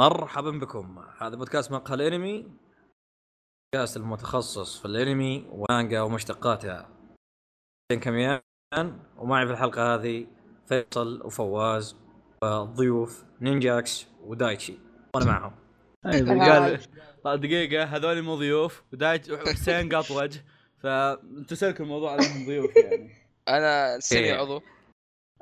مرحبا بكم هذا بودكاست مقهى الانمي بودكاست المتخصص في الانمي ومانجا ومشتقاتها كميان ومعي في الحلقه هذه فيصل وفواز والضيوف نينجاكس ودايتشي وانا معهم ايوه قال طيب دقيقة هذول مو ضيوف ودايج حسين قاط وجه فانتوا سلكوا الموضوع على انهم ضيوف يعني انا سمي إيه. عضو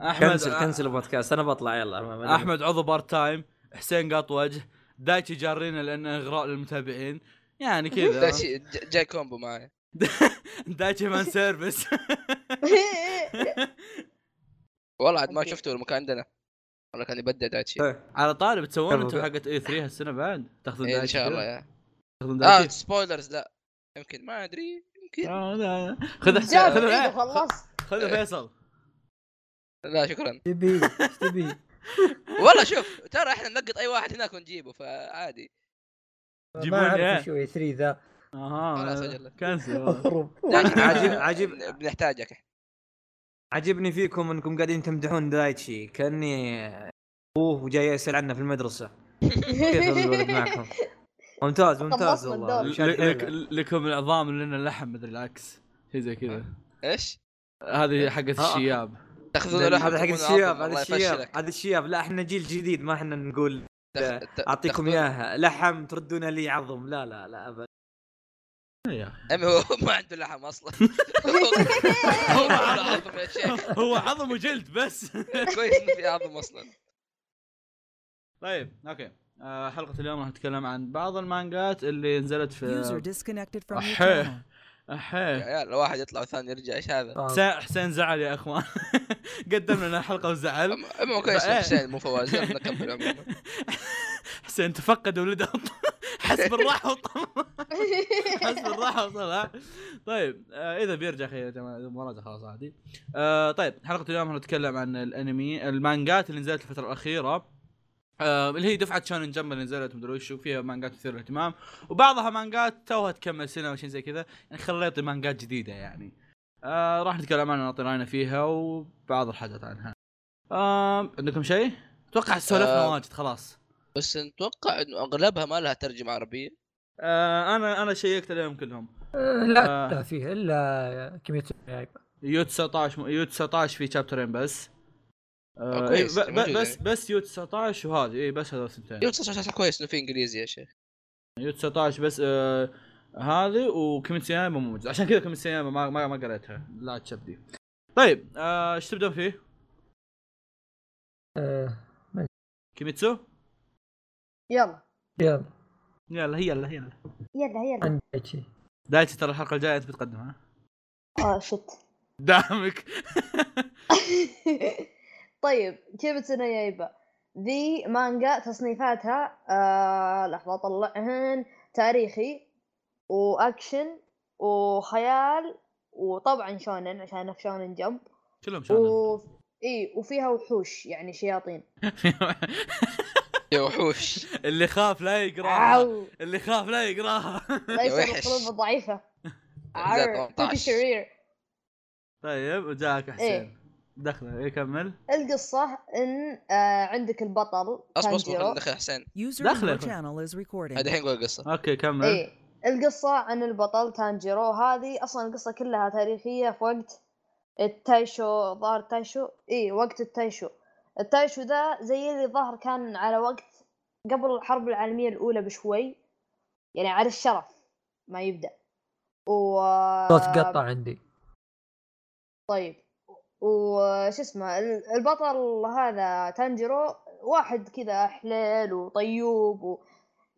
احمد كنسل كنسل البودكاست انا بطلع يلا ما- ما- احمد عضو بارت تايم حسين قاط وجه دايتشي جارينا لانه اغراء للمتابعين يعني كذا لا شيء ج- جاي كومبو معي دايتشي مان سيرفيس والله عاد ما أوكي. شفته المكان عندنا والله كان يبدع دايتشي طيب. على طالب تسوون انتم حقت اي 3 هالسنة بعد تاخذون إيه، دايتشي ان شاء الله كذا؟ يا تاخذون اه دايتشي سبويلرز لا يمكن ما ادري يمكن آه، لا، لا. خذ حسين جاب خذ عيد إيه، وخلصت خذ فيصل لا شكرا تبي إيش تبي والله شوف ترى احنا نلقط اي واحد هناك ونجيبه فعادي جيبوني ما إيه. اعرف شو اي 3 ذا خلاص، اها أجل. آه. كنسل اضرب دايتشي، عجيب- آه، عجيب. بنحتاجك إحنا. عجبني فيكم انكم قاعدين تمدحون دايتشي كاني ابوه وجاي يسال عنه في المدرسه كيف الولد معكم ممتاز ممتاز خلصنا والله الدور. مشان لك- لك- حلوة. لكم العظام لنا اللحم مدري العكس شيء زي كذا ايش؟ هذه حقت آه. الشياب تاخذون لحم هذا حق تكونوا الشياب عظم، هذا الله الشياب يفشلك. هذا الشياب لا احنا جيل جديد ما احنا نقول تاخ- ت- اعطيكم تاخذون- اياها لحم تردون لي عظم لا لا لا ابدا عمي هو ما عنده لحم اصلا هو ما عنده عظم يا شيخ هو عظم وجلد بس كويس انه في عظم اصلا طيب اوكي آه، حلقة اليوم راح نتكلم عن بعض المانجات اللي نزلت في User disconnected from your أحيه. channel. يا أحيه. عيال واحد يطلع والثاني يرجع ايش هذا؟ آه. حسين حسين زعل يا اخوان قدم لنا حلقة وزعل أما- أما كويس بقى- حسين مو فواز يلا نكمل عموما حسين تفقد ولده حس بالراحة وطم حس بالراحة وصل ها؟ طيب آه، اذا بيرجع خير يا جماعة اذا مو راجع خلاص عادي آه، طيب حلقة اليوم راح نتكلم عن الانمي المانجات اللي نزلت الفترة الأخيرة آه، اللي هي دفعة شونن جمب اللي نزلت مدري وش وفيها مانجات تثير الاهتمام وبعضها مانجات توها تكمل سنة وشي زي كذا يعني خليط مانجات جديدة يعني آه، راح نتكلم عنها ونعطي رأينا فيها وبعض الحاجات عنها آه، عندكم شيء؟ اتوقع سولفنا آه. واجد خلاص بس نتوقع انه اغلبها ما لها ترجمه عربيه آه، انا انا شيكت عليهم كلهم آه. لا لا فيه الا كيميتسو نو يايبا. يو 19 م- يو 19 في شابترين بس آه آه، إيه، كويس، ب- ب- موجودة. بس بس يو 19 وهذه اي بس هذول الثنتين يو 19 كويس انه في انجليزي يا شيخ يو 19 بس آه هذه وكيميتسو يايبا مو موجود عشان كذا كيميتسو يايبا ما ما, ما قريتها لا تشبدي طيب ايش آه إيش تبدون فيه؟ آه، كيميتسو؟ يلا يلا يلا يلا يلا يلا يلا عن دايتشي دايتشي ترى الحلقه الجايه انت بتقدمها اه شت دامك طيب كيميتسو نو يايبا ذي مانجا تصنيفاتها آه لحظة اطلعهن تاريخي واكشن وخيال وطبعا شونن عشان أنا في شونن جمب كلهم شونن و اي وفيها وحوش يعني شياطين يا وحوش اللي خاف لا يقراها عو اللي خاف لا يقراها ليس وحش. القلوب الضعيفة إذا عر 18. فيك شرير طيب وجاك حسين إيه. دخله ايه كمل القصة ان آه، عندك البطل اصبر اصبر كانجيرو. خلينا ندخل حسين User داخل in your يا أخوي. channel is recording. هذا الحين قول القصه اوكي كمل إيه. ايه القصة عن البطل تانجيرو هذه اصلا القصة كلها تاريخية في وقت التايشو ظهر تايشو ايه وقت التايشو التايشو ده زي اللي ظهر كان على وقت قبل الحرب العالمية الأولى بشوي يعني على الشرف ما يبدأ و صوت قطع عندي طيب وش اسمه ال- البطل هذا تانجيرو واحد كذا حليل وطيوب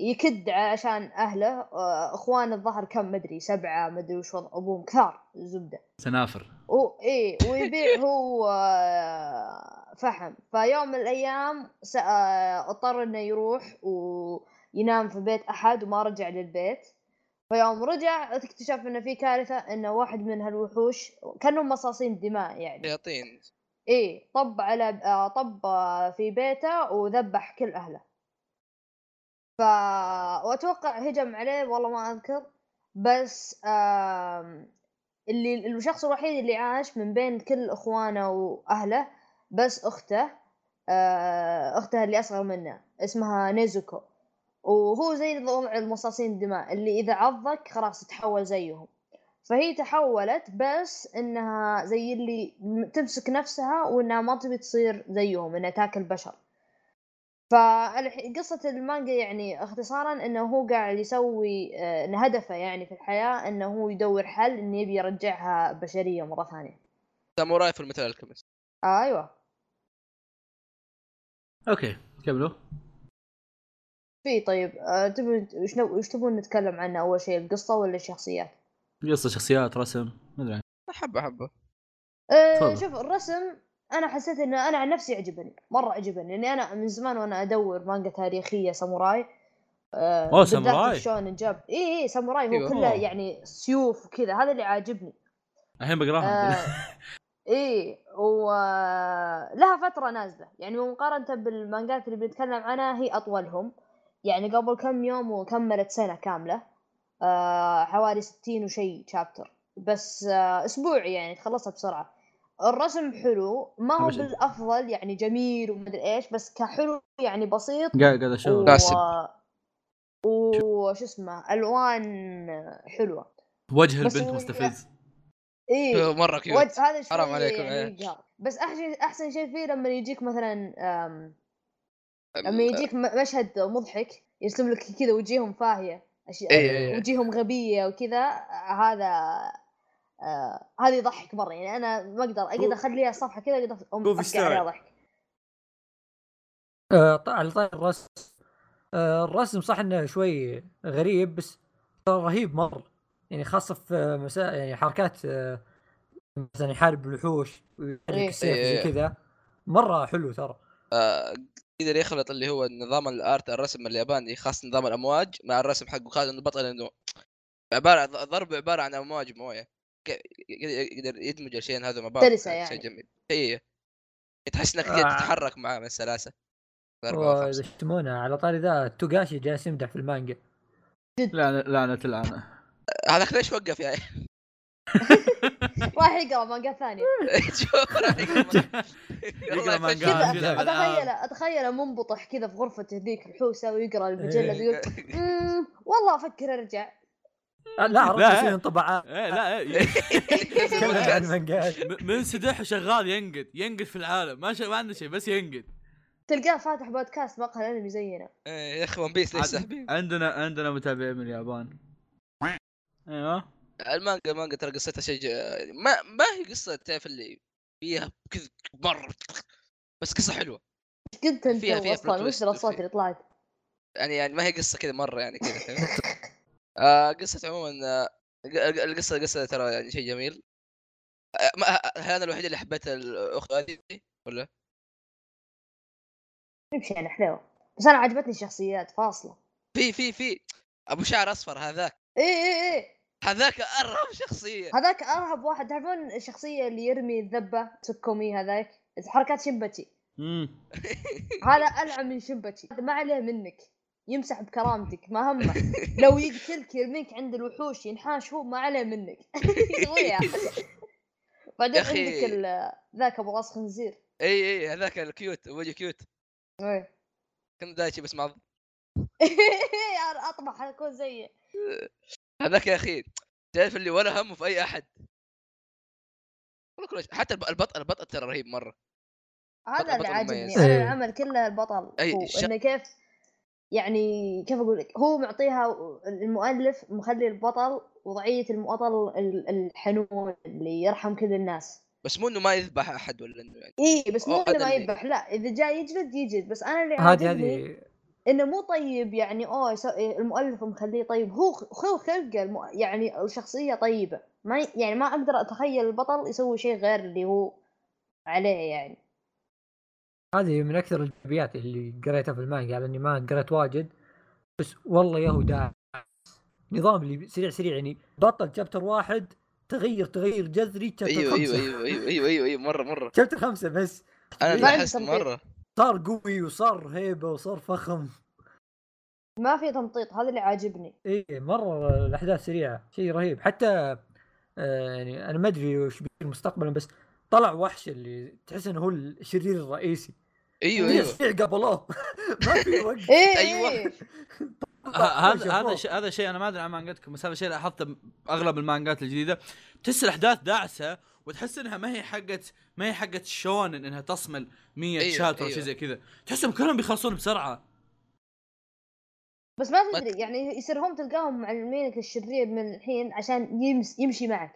ويكد عشان اهله آه، اخوان الظهر كم مدري سبعه مدري وش وضع ابوهم كثار زبده سنافر و ايه ويبيع هو آه، فحم فيوم من الايام س- آه، اضطر انه يروح وينام في بيت احد وما رجع للبيت فيوم رجع اكتشف انه في كارثه انه واحد من هالوحوش كانهم مصاصين دماء يعني شياطين ايه طب على آه، طب آه، في بيته وذبح كل اهله ف واتوقع هجم عليه والله ما اذكر بس آم، اللي الشخص الوحيد اللي عاش من بين كل اخوانه واهله بس اخته آه، اختها اللي اصغر منه اسمها نيزوكو وهو زي نظام المصاصين الدماء اللي اذا عضك خلاص تتحول زيهم فهي تحولت بس انها زي اللي م- تمسك نفسها وانها ما تبي تصير زيهم انها تاكل بشر فقصة المانجا يعني اختصارا انه هو قاعد يسوي آه، ان هدفه يعني في الحياة انه هو يدور حل انه يبي يرجعها بشرية مرة ثانية ساموراي في المثل الكيمست آه ايوه اوكي كملوا في طيب آه، تبون وش نو- وش تبون نتكلم عنه اول شيء القصة ولا الشخصيات؟ قصه شخصيات رسم ما ادري حبه حبه آه، تفضل. شوف الرسم انا حسيت ان انا عن نفسي عجبني مره عجبني لاني انا من زمان وانا ادور مانجا تاريخيه ساموراي آه، أوه، بالذات ساموراي. أيوه، الشونن جاب اي اي ساموراي هو أيوة. كله أوه. يعني سيوف وكذا هذا اللي عاجبني الحين بقراها آه، إيه، اي ولها فتره نازله يعني مقارنه بالمانجات اللي بنتكلم عنها هي اطولهم يعني قبل كم يوم وكملت سنه كامله آه، حوالي 60 وشي شابتر بس آه، اسبوعي يعني تخلصها بسرعه الرسم حلو ما هو أبشر. بالافضل يعني جميل ومدري ايش بس كحلو يعني بسيط قاعد قاعد اشوف لا. كلاسيك. وش اسمه الوان حلوه وجه بس يعني البنت هو- مستفز اي مره وج- كيوت هذا شوي حرام عليكم، يعني إيه. يقهر. بس احسن احسن شيء فيه لما يجيك مثلا آم، لما يجيك م- مشهد مضحك يرسم لك كذا وجيههم فاهيه اشياء إيه، إيه، إيه. وجيههم غبيه وكذا آه، هذا آه، هذا يضحك مره يعني انا ما اقدر اقدر اخليها صفحه كذا اقدر أم- كوفي ابكي عليها ستايل. ضحك آه، ط- على طاري الرسم آه، الرسم صح انه شوي غريب بس ترى رهيب مره يعني خاصه في آه، مسا يعني حركات آه، مثلا يحارب الوحوش إيه. ويحرك السيف إيه، إيه. زي كذا مره حلو ترى يقدر يخلط اللي هو نظام الارت الرسم الياباني خاصه نظام الامواج مع الرسم حقه خاصه انه بطل انه عباره ضرب عباره عن امواج مويه ك- يقدر- يقدر يدمج الشيئين هذا مع بعض سلسة شيء يعني. جميل اي تحس انك آه. قاعد تتحرك معاه من السلاسه أربعة وإذا وخمسة. يشتمونه على طاري ذا توغاشي جالس يمدح في المانجا لعنة لعنة لعنة هذاك ليش وقف يا عيال؟ راح يقرا مانجا ثانيه شوف راح يقرأ. يقرأ والله مانجا. كذا قاعد يلعب اتخيل ألعاب. اتخيله منبطح كذا في غرفه هذيك الحوسه ويقرا المجله إيه. يقول "أمم، والله افكر ارجع آه، لا عرفت لا. يصير انطباعات ايه لا إيه. تكلم فشل. عن مانجات م- منسدح وشغال ينقد ينقد في العالم ما شا... ما عنده شيء بس ينقد تلقاه فاتح بودكاست مقهى انمي زينا إيه، يا اخي ون بيس ليش عاد- ساحبين؟ عندنا عندنا متابعين من اليابان ايوه المانجا مانجا ترى قصتها شيء ج- ما ما هي قصه تعرف اللي فيها كذا مره بس قصه حلوه ايش كنت انت فيها- فيها اصلا plot وش twist الاصوات في- اللي طلعت؟ يعني يعني ما هي قصه كذا مره يعني كذا فهمت؟ آه قصه عموما آه، ق- ق- القصه القصه ترى يعني شيء جميل آه، ما آه، هل انا الوحيد اللي حبيت الاخت هذه ولا؟ نمشي انا حلوه يعني بس انا عجبتني الشخصيات فاصله في في في ابو شعر اصفر هذاك اي اي اي هذاك ارهب شخصيه إيه، هذاك ارهب واحد تعرفون الشخصيه اللي يرمي الذبه تسكومي هذاك حركات شمبتي امم هذا العن من شمبتي هذا ما عليه منك يمسح بكرامتك ما همه لو يقتلك يرميك عند الوحوش ينحاش هو ما عليه منك يسويها بعدين يا أخي. عندك ال- ذاك ابو راس خنزير اي اي هذاك الكيوت وجه كيوت إيه. كنت دايشي بس مع أنا اطمح اكون زيه هذاك يا اخي تعرف اللي ولا همه في اي احد والله كل شيء. حتى الب- البطل البطل ترى رهيب مره هذا اللي بطل عاجبني مميز. انا إيه. العمل كله البطل أي هو الش- انه كيف يعني كيف اقول لك هو معطيها المؤلف مخلي البطل وضعيه البطل ال- الحنون اللي يرحم كل الناس بس مو انه ما يذبح احد ولا انه يعني اي بس مو أوه، انه هذا ما اللي- يذبح لا اذا جاي يجلد يجلد بس انا اللي هذه عاجبني هذه انه مو طيب يعني اوه يسو- المؤلف مخليه طيب هو خ- هو خلقه الم... يعني الشخصيه طيبه ما ي- يعني ما اقدر اتخيل البطل يسوي شيء غير اللي هو عليه يعني هذه من اكثر الايجابيات اللي قريتها في المانجا على اني ما قريت واجد بس والله يا هو داعس نظام اللي سريع سريع يعني بطل شابتر واحد تغير تغير جذري شابتر ايوه خمسه ايوه ايوه ايوه ايوه ايوه, أيوه مره مره شابتر خمسه بس ما انا عندي لاحظت تنقيط. مره صار قوي وصار هيبه وصار فخم ما في تمطيط هذا اللي عاجبني اي مره الاحداث سريعه شيء رهيب حتى آه يعني انا ما ادري وش بيصير مستقبلا بس طلع وحش اللي تحس انه هو الشرير الرئيسي ايوه ايوه يسرع قبله ما في وقت ايه أيوة. إيه. ه- أه، أه، هذا هذا الشيء هذا الشيء انا ما ادري عن مانجاتكم بس هذا الشيء لاحظته باغلب المانجات الجديده تحس الاحداث داعسه وتحس انها ما هي حقت ما هي حقت شونن انها تصمل 100 أيوه، شابتر أيوه. أيوه. شيء زي كذا تحسهم كلهم بيخلصون بسرعه بس ما ما تدري يعني يصير هم تلقاهم معلمينك الشرير من الحين عشان يمس يمشي معك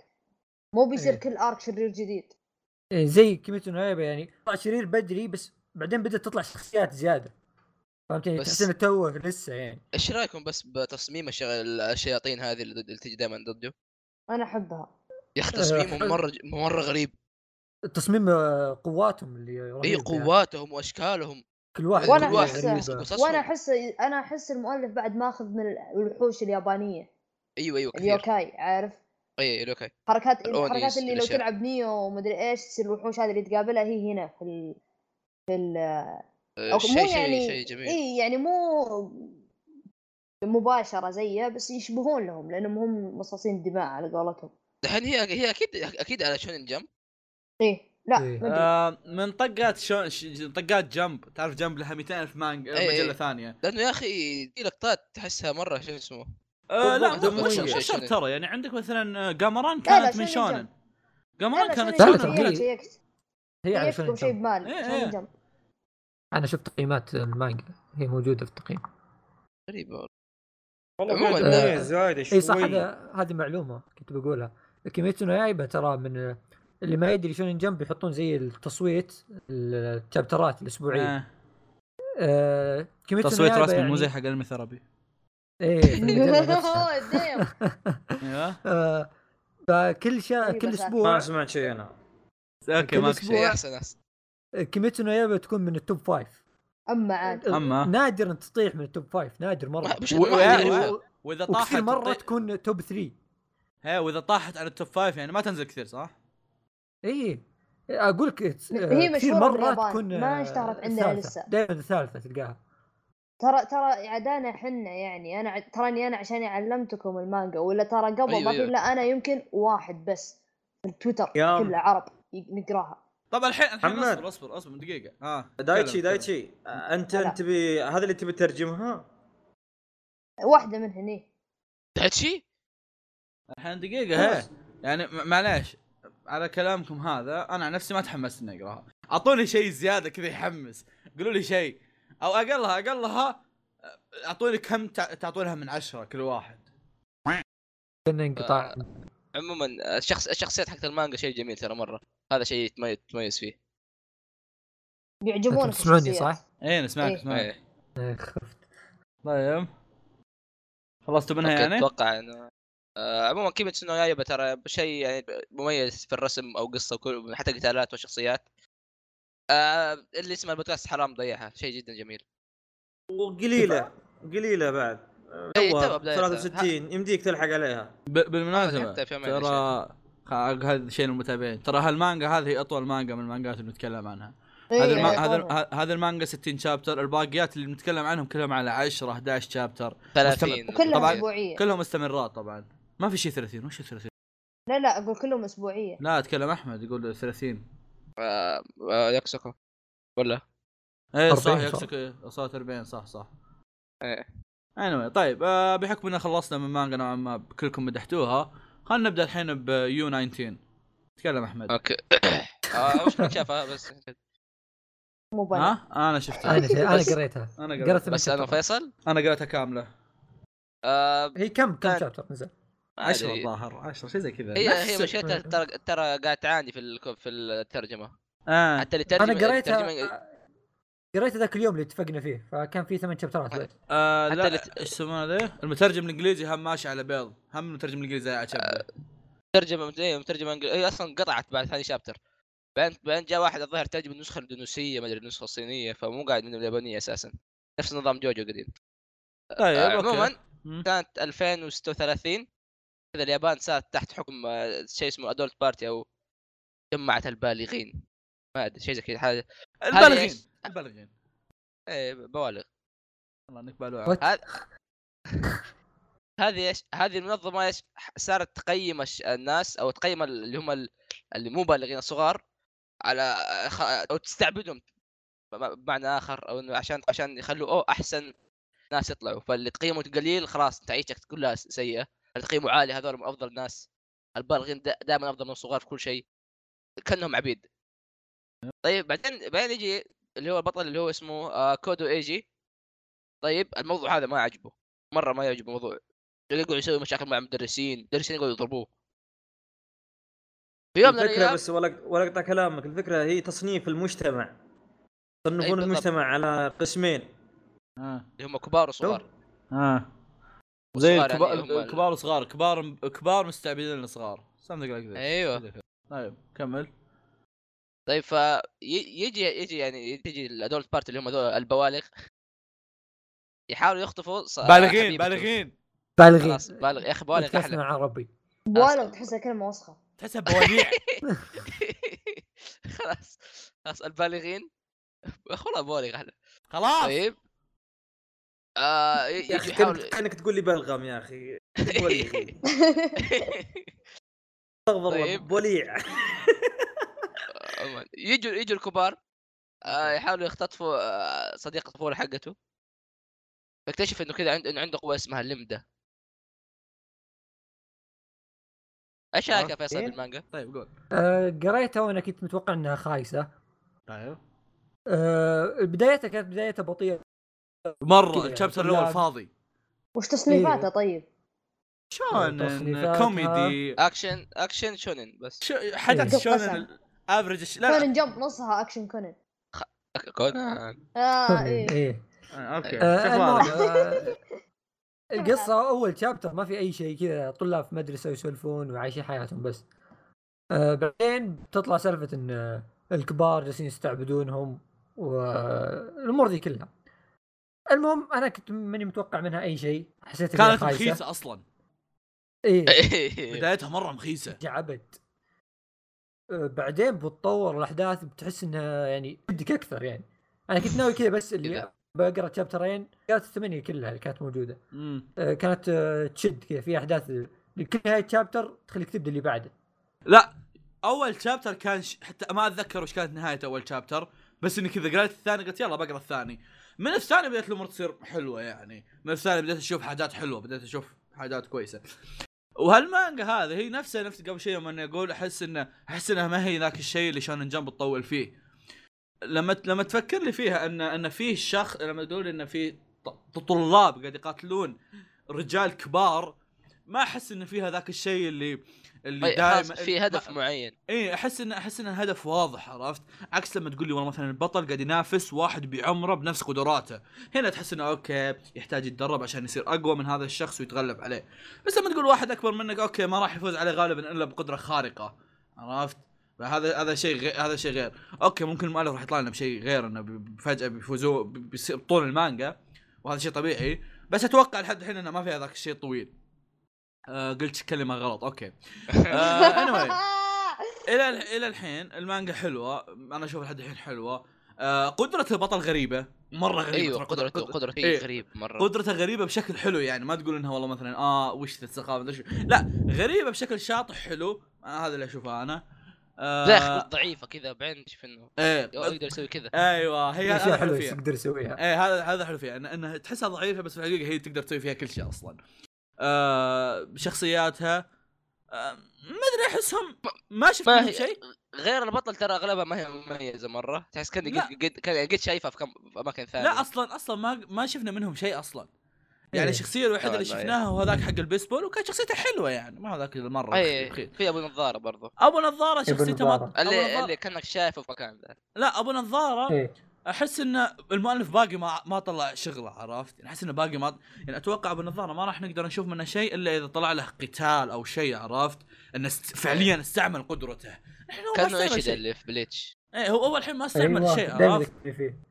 مو بيصير إيه. كل ارك شرير جديد زي كيميتو نو يايبا يعني طلع شرير بدري بس بعدين بدات تطلع شخصيات زياده فهمتني بس- تحس انه توه لسه يعني ايش رايكم بس بتصميم الشغ- الشياطين هذه اللي ضد- اللي تجي دائما ضده انا احبها يا اخي تصميمهم مره ج- مره غريب التصميم آه، قواتهم اللي رهيب إيه، اي يعني. قواتهم واشكالهم كل واحد يعني. وأنا كل واحد أحسها. غريبة. قصصهم. وانا احس انا احس المؤلف بعد ماخذ من الوحوش اليابانيه إيوه، ايوه ايوه كثير إيه، اليوكاي عارف اي اليوكاي حركات الأونيس، الحركات اللي لو الأشياء. تلعب نيو ومدري ايش تصير الوحوش هذه اللي تقابلها هي هنا في ال... في ال... آه، أو- شيء شيء شيء جميل اي يعني مو مباشره زيه بس يشبهون لهم لانهم هم مصاصين دماء على قولتهم دحين هي هي اكيد اكيد على شونن جمب ايه لا إيه. ما أدري. آه من طقات شون ش- طقات جنب تعرف جنب لها 200,000 مانج أي، أي. مجله ثانيه لانه يا اخي في لقطات تحسها مره شو اسمه آه لا مو- دموية. مو مو شرط شونن. ترى يعني عندك مثلا آه، جامران لا، كانت من شونن جمب. شونن لا، لا، جامران كانت شونن شونين شونن جمب. لا، جمب. لا، كانت تغيير. شيكت- هي على شيكت شونين وشيء جمب. بمال إيه، شونين إيه. جمب. انا شفت تقييمات المانجا هي موجوده في التقييم غريبه والله. والله عموماً، قاعد آه، إيه، مميز زايد شوي اي صح هذا هذه معلومه كنت بقولها كيميتسو نو يايبا ترى من اللي ما يدري شونين جمب يحطون زي التصويت التشابترات الاسبوعيه آه. آه. كيميتسو نو تصويت يايبا رسمي يعني- مو زي حق علم الثرابي ايه المجلة نفسها. أوه، damn. ايوه آه، فكل شيء غريبة كل صراحة. ما اسبوع سمعت شيء انا اوكي كل ماكو شيء شيء أسبوع. احسن احسن كيميتسو نو يايبا تكون من التوب فايف اما عاد أما. نادر ان تطيح من التوب فايف نادر مره ما- مش- و- ما يعني- حد يعرفها. و- واذا طاحت وكثير مره طي- تكون توب 3 هي واذا طاحت على التوب فايف يعني ما تنزل كثير صح؟ اي اقول إيه. لك ت- هي كثير آه، مشهورة باليابان، ما اشتهرت عندنا لسه. دائما الثالثه تلقاها ترى ترى عدانا حنا يعني انا ع- تراني انا عشان علمتكم المانجا ولا ترى قبل أيوة، ما في أيوة. الا انا يمكن واحد بس في التويتر يام. كلها عرب ي- نقراها طبعا الحين الحين محمد. اصبر اصبر اصبر دقيقه اه دايتشي تكلم- تكلم. دايتشي آه، انت لا. انت تبي هذا اللي تبي تترجمها واحده منهن ايه دايتشي الحين دقيقه هي يعني م- معليش على كلامكم هذا انا عن نفسي ما تحمست اني اقراها اعطوني شيء زياده كذا يحمس قولوا لي شيء او اقلها اقلها اعطوني كم تع- تعطونها من عشرة كل واحد كان انقطاع آه. عموما آه، الشخص الشخصيات حقت المانجا شيء جميل ترى مره هذا شيء يتميز تميز فيه بيعجبونك تسمعوني الشخصيات. صح؟ ايه نسمعك إيه. نسمعك إيه. آه، خفت طيب خلصتوا منها أوكي، يعني؟ اتوقع انه آه، عموما كيميتسو نو يايبا ترى شيء يعني مميز في الرسم او قصه وكل حتى قتالات وشخصيات آه اللي اسمه البودكاست حرام ضيعها شيء جدا جميل وقليله قليله بعد آه، إيه، توها توها بدايتها. 63 يمديك تلحق عليها ب- بالمناسبه حتى في يومين ترى خ- هذا شيء للمتابعين ترى هالمانجا هذه اطول مانجا من المانجات اللي نتكلم عنها إيه، هذا الما... إيه، هذا طبعاً. ه- هذا المانجا 60 شابتر الباقيات اللي بنتكلم عنهم كلهم على 10 11 شابتر 30 وكلها طبعاً. اسبوعيه كلهم استمرات طبعا ما في شيء 30 وش 30 لا لا اقول كلهم اسبوعيه لا اتكلم احمد يقول 30 آه، يكسكو ولا ايه صح 40 صح. يكسك صارت 40 صح صح إيه. anyway طيب آه بحكم ان خلصنا من مانجا نوعا ما كلكم مدحتوها خلينا نبدا الحين بيو 19 تكلم احمد اوكي آه، مش كنت شافها بس مو بنا ها انا شفتها انا انا بس- قريتها انا قريتها قريتها من بس انا شابتر. وفيصل انا قريتها كامله آه، هي كم كم كان- شابتر نزل؟ 10 أدري. الظاهر 10 شيء زي كذا إيه، هي نفس- هي مشكلتها ترى ترى قاعد تعاني في الك- في الترجمه آه. حتى اللي انا ترجم الترجمة- قريتها قريتها ذاك اليوم اللي اتفقنا فيه فكان في ثمان شابترات بعد آه حتى لا اللي ايش يسمونه ذا؟ المترجم الانجليزي هم ماشي على بيض هم المترجم الانجليزي على آه، شبه ترجمه مترجمه مترجمه انجل- هي اصلا إيه، قطعت بعد ثاني شابتر بعدين بعدين جاء واحد الظاهر ترجم النسخه الاندونيسيه ما ادري النسخه الصينيه فمو قاعد من اليابانيه اساسا نفس نظام جوجو قديم طيب آه، أوكي. عموما مم. سنه 2036 كذا اليابان صارت تحت حكم آه، شيء اسمه ادولت بارتي او جمعة البالغين ما ادري شيء زي كذا حاجه البالغين إيش؟ البالغين إيه، بالغ والله انك بالوع What? هذا هذه ايش؟ هذه المنظمه ايش؟ ح- صارت تقيم الش- الناس او تقيم ال- اللي هم ال- اللي مو بالغين الصغار على خ- او آه، تستعبدهم بم- بمعنى اخر او انه عشان عشان يخلوا اوه احسن ناس يطلعوا فاللي تقييمه قليل خلاص انت عيشتك كلها س- سيئه اللي تقييمه عالي هذول هم افضل ناس البالغين دائما افضل من الصغار في كل شيء كانهم عبيد طيب بعدين بعدين يجي اللي هو البطل اللي هو اسمه آه كودو ايجي طيب الموضوع هذا ما عجبه مره ما يعجبه الموضوع يقعد يسوي مشاكل مع المدرسين المدرسين يقعدوا يضربوه في يوم من الفكره الايام بس ولا ولا اقطع كلامك الفكره هي تصنيف المجتمع أي يصنفون بالضبط. المجتمع على قسمين اه اللي هم كبار وصغار اه زي وصغار الكبار يعني هم ال- كبار وصغار كبار كبار مستعبدين للصغار something like this ايوه طيب كمل طيب ف ي- يجي يجي يعني تجي الادولت بارتي اللي هم هذول البوالغ يحاولوا يخطفوا ص- بالغين حبيبته. بالغين بالغين خلاص بالغ يا اخي بالغ احلى بودكاستنا عربي بالغ تحسها كلمه وسخه تحسها بواليع خلاص خلاص البالغين يا أخي والله بالغ احلى خلاص طيب آه ي- يا يجي اخي يحاول كانك كانك تقول لي بلغم يا اخي بوليع. استغفر الله طيب. بوليع عموماً. يجوا يجوا الكبار آه، يحاولوا يختطفوا آه، صديق الطفوله حقته فاكتشف انه كذا عند... إنه عنده قوه اسمها اللمده ايش رايك يا فيصل إيه؟ بالمانجا؟ طيب قول آه، قريتها وانا كنت متوقع انها خايسه طيب آه، بدايتها كانت بدايتها بطيئه كذا مره يعني، الشابتر كلها- الاول فاضي وش إيه. تصنيفاتها طيب؟ شونن تصنيفاتها. كوميدي اكشن اكشن شونن بس ش- إيه. حدث دق شونن افرج لا كونن جمب نصها اكشن كونن أك- كونان اه ايه ايه آه، اوكي آه، شوف المهم، واضح. آه، القصة أول شابتر ما في أي شيء كذا طلاب في مدرسة يسولفون وعايشين حياتهم بس آه، بعدين تطلع سالفة إن آه، الكبار جالسين يستعبدونهم والأمور ذي كلها المهم أنا كنت ماني متوقع منها أي شيء حسيت إنها كانت خايسة. مخيسه اصلا إيه طيب، بدايتها مره مخيسه جعبت آه، بعدين بتطور الاحداث بتحس انها يعني بدك اكثر يعني انا كنت ناوي كذا بس اللي كذا. بقرا شابترين قرأت الثمانيه كلها اللي كانت موجوده مم. آه، كانت آه، تشد كذا في احداث لكل نهايه شابتر تخليك تبدا اللي بعده لا اول شابتر كان ش... حتى ما اتذكر وش كانت نهايه اول شابتر بس اني كذا قريت الثاني قلت يلا بقرا الثاني من الثاني بدات الامور تصير حلوه يعني من الثاني بدات اشوف حاجات حلوه بدات اشوف حاجات كويسه وهالمانجا هذه هي نفسها نفس قبل شيء لما اني اقول احس انه احس انها ما هي ذاك الشيء اللي شونن جمب تطول فيه لما ت- لما تفكر لي فيها ان ان في شخص لما تقول ان في ط- طلاب قاعد يقاتلون رجال كبار ما احس ان فيها ذاك الشيء اللي اللي دائما طيب، في هدف معين ايه احس ان احس ان الهدف واضح عرفت عكس لما تقول لي والله مثلا البطل قاعد ينافس واحد بعمره بنفس قدراته هنا تحس انه اوكي يحتاج يتدرب عشان يصير اقوى من هذا الشخص ويتغلب عليه بس لما تقول واحد اكبر منك اوكي ما راح يفوز عليه غالبا الا بقدره خارقه عرفت فهذا هذا شيء غي- هذا شيء غير اوكي ممكن المؤلف راح يطلع لنا بشيء غير انه ب- فجاه بيفوزوا ب- بيصير طول المانجا وهذا شيء طبيعي بس اتوقع لحد الحين انه ما في هذاك الشيء طويل آه قلت كلمه غلط اوكي آه anyway. الى الح- الى الحين المانجا حلوه انا اشوف لحد الحين حلوه آه قدره البطل غريبه مره غريبه ايوه ترى قدرته قدرة- قدرته أيوة، إيه. غريب مره قدرته غريبه بشكل حلو يعني ما تقول انها والله مثلا اه وش ذا السخافه مدري شو. لا غريبه بشكل شاطح حلو آه هذا اللي اشوفه انا داخل آه ضعيفه كذا بعدين تشوف انه ايه يو- يقدر يسوي كذا ايوه هي هذا اشياء الحلو حلوه فيها تقدر تسويها ايه هذا هذا حلو فيها إن- انها تحسها ضعيفه بس في الحقيقه هي تقدر تسوي فيها كل شيء اصلا. آه شخصياتها آه ما ادري احسهم ما شفت ما منهم هي- شيء غير البطل ترى اغلبها ما هي مميزه مره تحس كاني لا. قد قد كان- قد شايفها في كم في اماكن ثانيه لا اصلا اصلا ما ما شفنا منهم شيء اصلا يعني إيه. الشخصيه الوحيده اللي نوعاً ما، شفناها هو هذاك حق البيسبول وكان شخصيته حلوه يعني ما هذاك المره اي بخير إيه، في ابو نظاره برضه ابو نظاره شخصيته ما نظارة. أبو اللي نظارة- اللي كانك شايفه في مكان ذا لا ابو نظاره ايه احس ان المؤلف باقي ما ما طلع شغله عرفت يعني احس انه باقي ما يعني اتوقع ابو نظاره ما راح نقدر نشوف منه شيء الا اذا طلع له قتال او شيء عرفت انه است... إيه. فعليا استعمل قدرته الحين هو ما كانه استعمل ايش ذا شيء اللي في بليتش إيه، هو اول الحين ما استعمل ايوه شيء دايما عرفت ذكرني فيه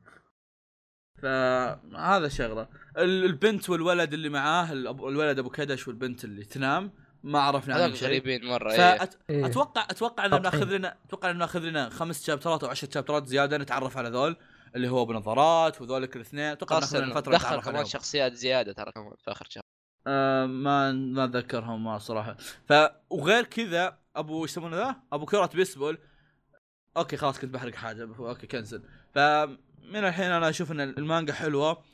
فهذا شغله ال- البنت والولد اللي معاه الأب- الولد ابو كدش والبنت اللي تنام ما عرفنا عنهم هذول شيء غريبين مره إيه. إيه. فاتوقع اتوقع انه طبعاً. بناخذ لنا اتوقع انه بناخذ لنا خمس شابترات او عشر شابترات زياده نتعرف على ذول اللي هو بنظارات وذولك الاثنين اتوقع بناخذ خاصة لنا إنه فتره دخل نتعرف كمان عليهم شخصيات زيادة ترى كمان في آخر شهر آه ما ما اتذكرهم ما صراحه ف وغير كذا ابو ايش يسمونه ذا ابو كره بيسبول اوكي خلاص كنت بحرق حاجه اوكي كنسل ف من الحين انا اشوف ان المانجا حلوه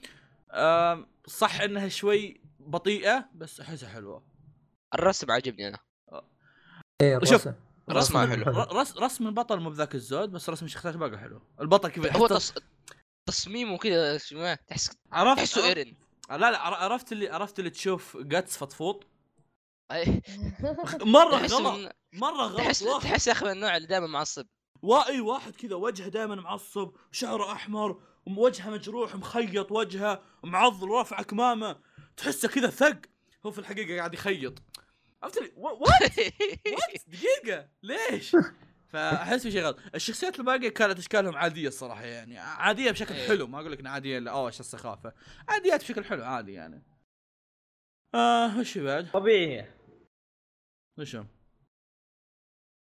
آم، صح انها شوي بطيئه بس احسها حلوه الرسم عاجبني انا إيه، شوف، الرسم. رسمها حلو حلو. ر- رس رسم البطل مو بذاك الزود بس رسم الشخصيات باقي حلو البطل كذا هو حتى- تص... تصميمه كذا شو ما تحس عرفت تحسه ايرن لا لا عر- عرفت اللي عرفت اللي تشوف جاتس فطفوط أي. مره إيه. تحسه غلط من... مره غلط تحس واحد تحس يا اخي من النوع اللي دائما معصب وا- اي واحد كذا وجهه دائما معصب شعره احمر وجهه مجروح مخيط وجهه معضل رافع اكمامه تحسه كذا ثق هو في الحقيقه قاعد يخيط عرفت لي و- و- وات دقيقة ليش؟ فاحس في شيء غلط، الشخصيات الباقية كانت اشكالهم عادية الصراحة يعني، عادية بشكل إيه. حلو ما اقول لك انها عادية لا اوه ايش السخافة، عاديات بشكل حلو عادي يعني. اه وش في بعد؟ طبيعي وشو؟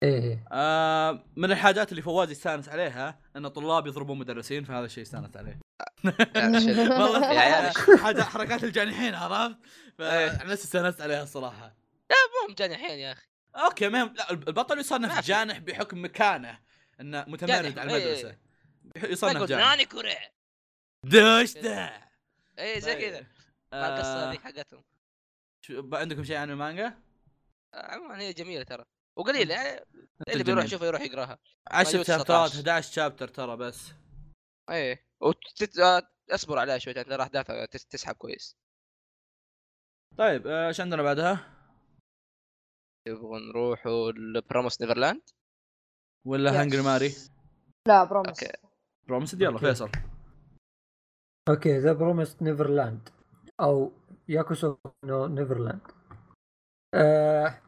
إيه، ايه آه من الحاجات اللي فواز يستانس عليها ان طلاب يضربون مدرسين فهذا الشيء استانس عليه. لا، شيء. والله يا عيال. حاجة حركات الجانحين عرفت؟ فانا استانست عليها الصراحة. هم جاني الحين يا اخي اوكي ما يهم- لا البطل يصنف ما في. جانح بحكم مكانه انه متمرد جانح، على إيه. المدرسه ما يصنف يقول جانح ناني كوري دوش ده اي طيب، زي كذا مع آه. القصه هذيك حقتهم شو- ب- عندكم شيء عن المانجا؟ آه، عموما هي جميله ترى وقليل يعني اللي جميل. بيروح يشوفها يروح يقراها 10 موجود شابترات 19. 11 شابتر ترى بس اي إيه. وتت... آه، اصبر عليها شوي لان احداثها تس- تسحب كويس طيب آه، ايش عندنا بعدها؟ نبغى نروحوا لبراموس نيفرلاند ولا Yes. هنجري ماري؟ لا برومس أوكي. برومسد يلا أوكي. فيصل اوكي ذا بروميس نيفرلاند او ياكوسو نو نيفرلاند آه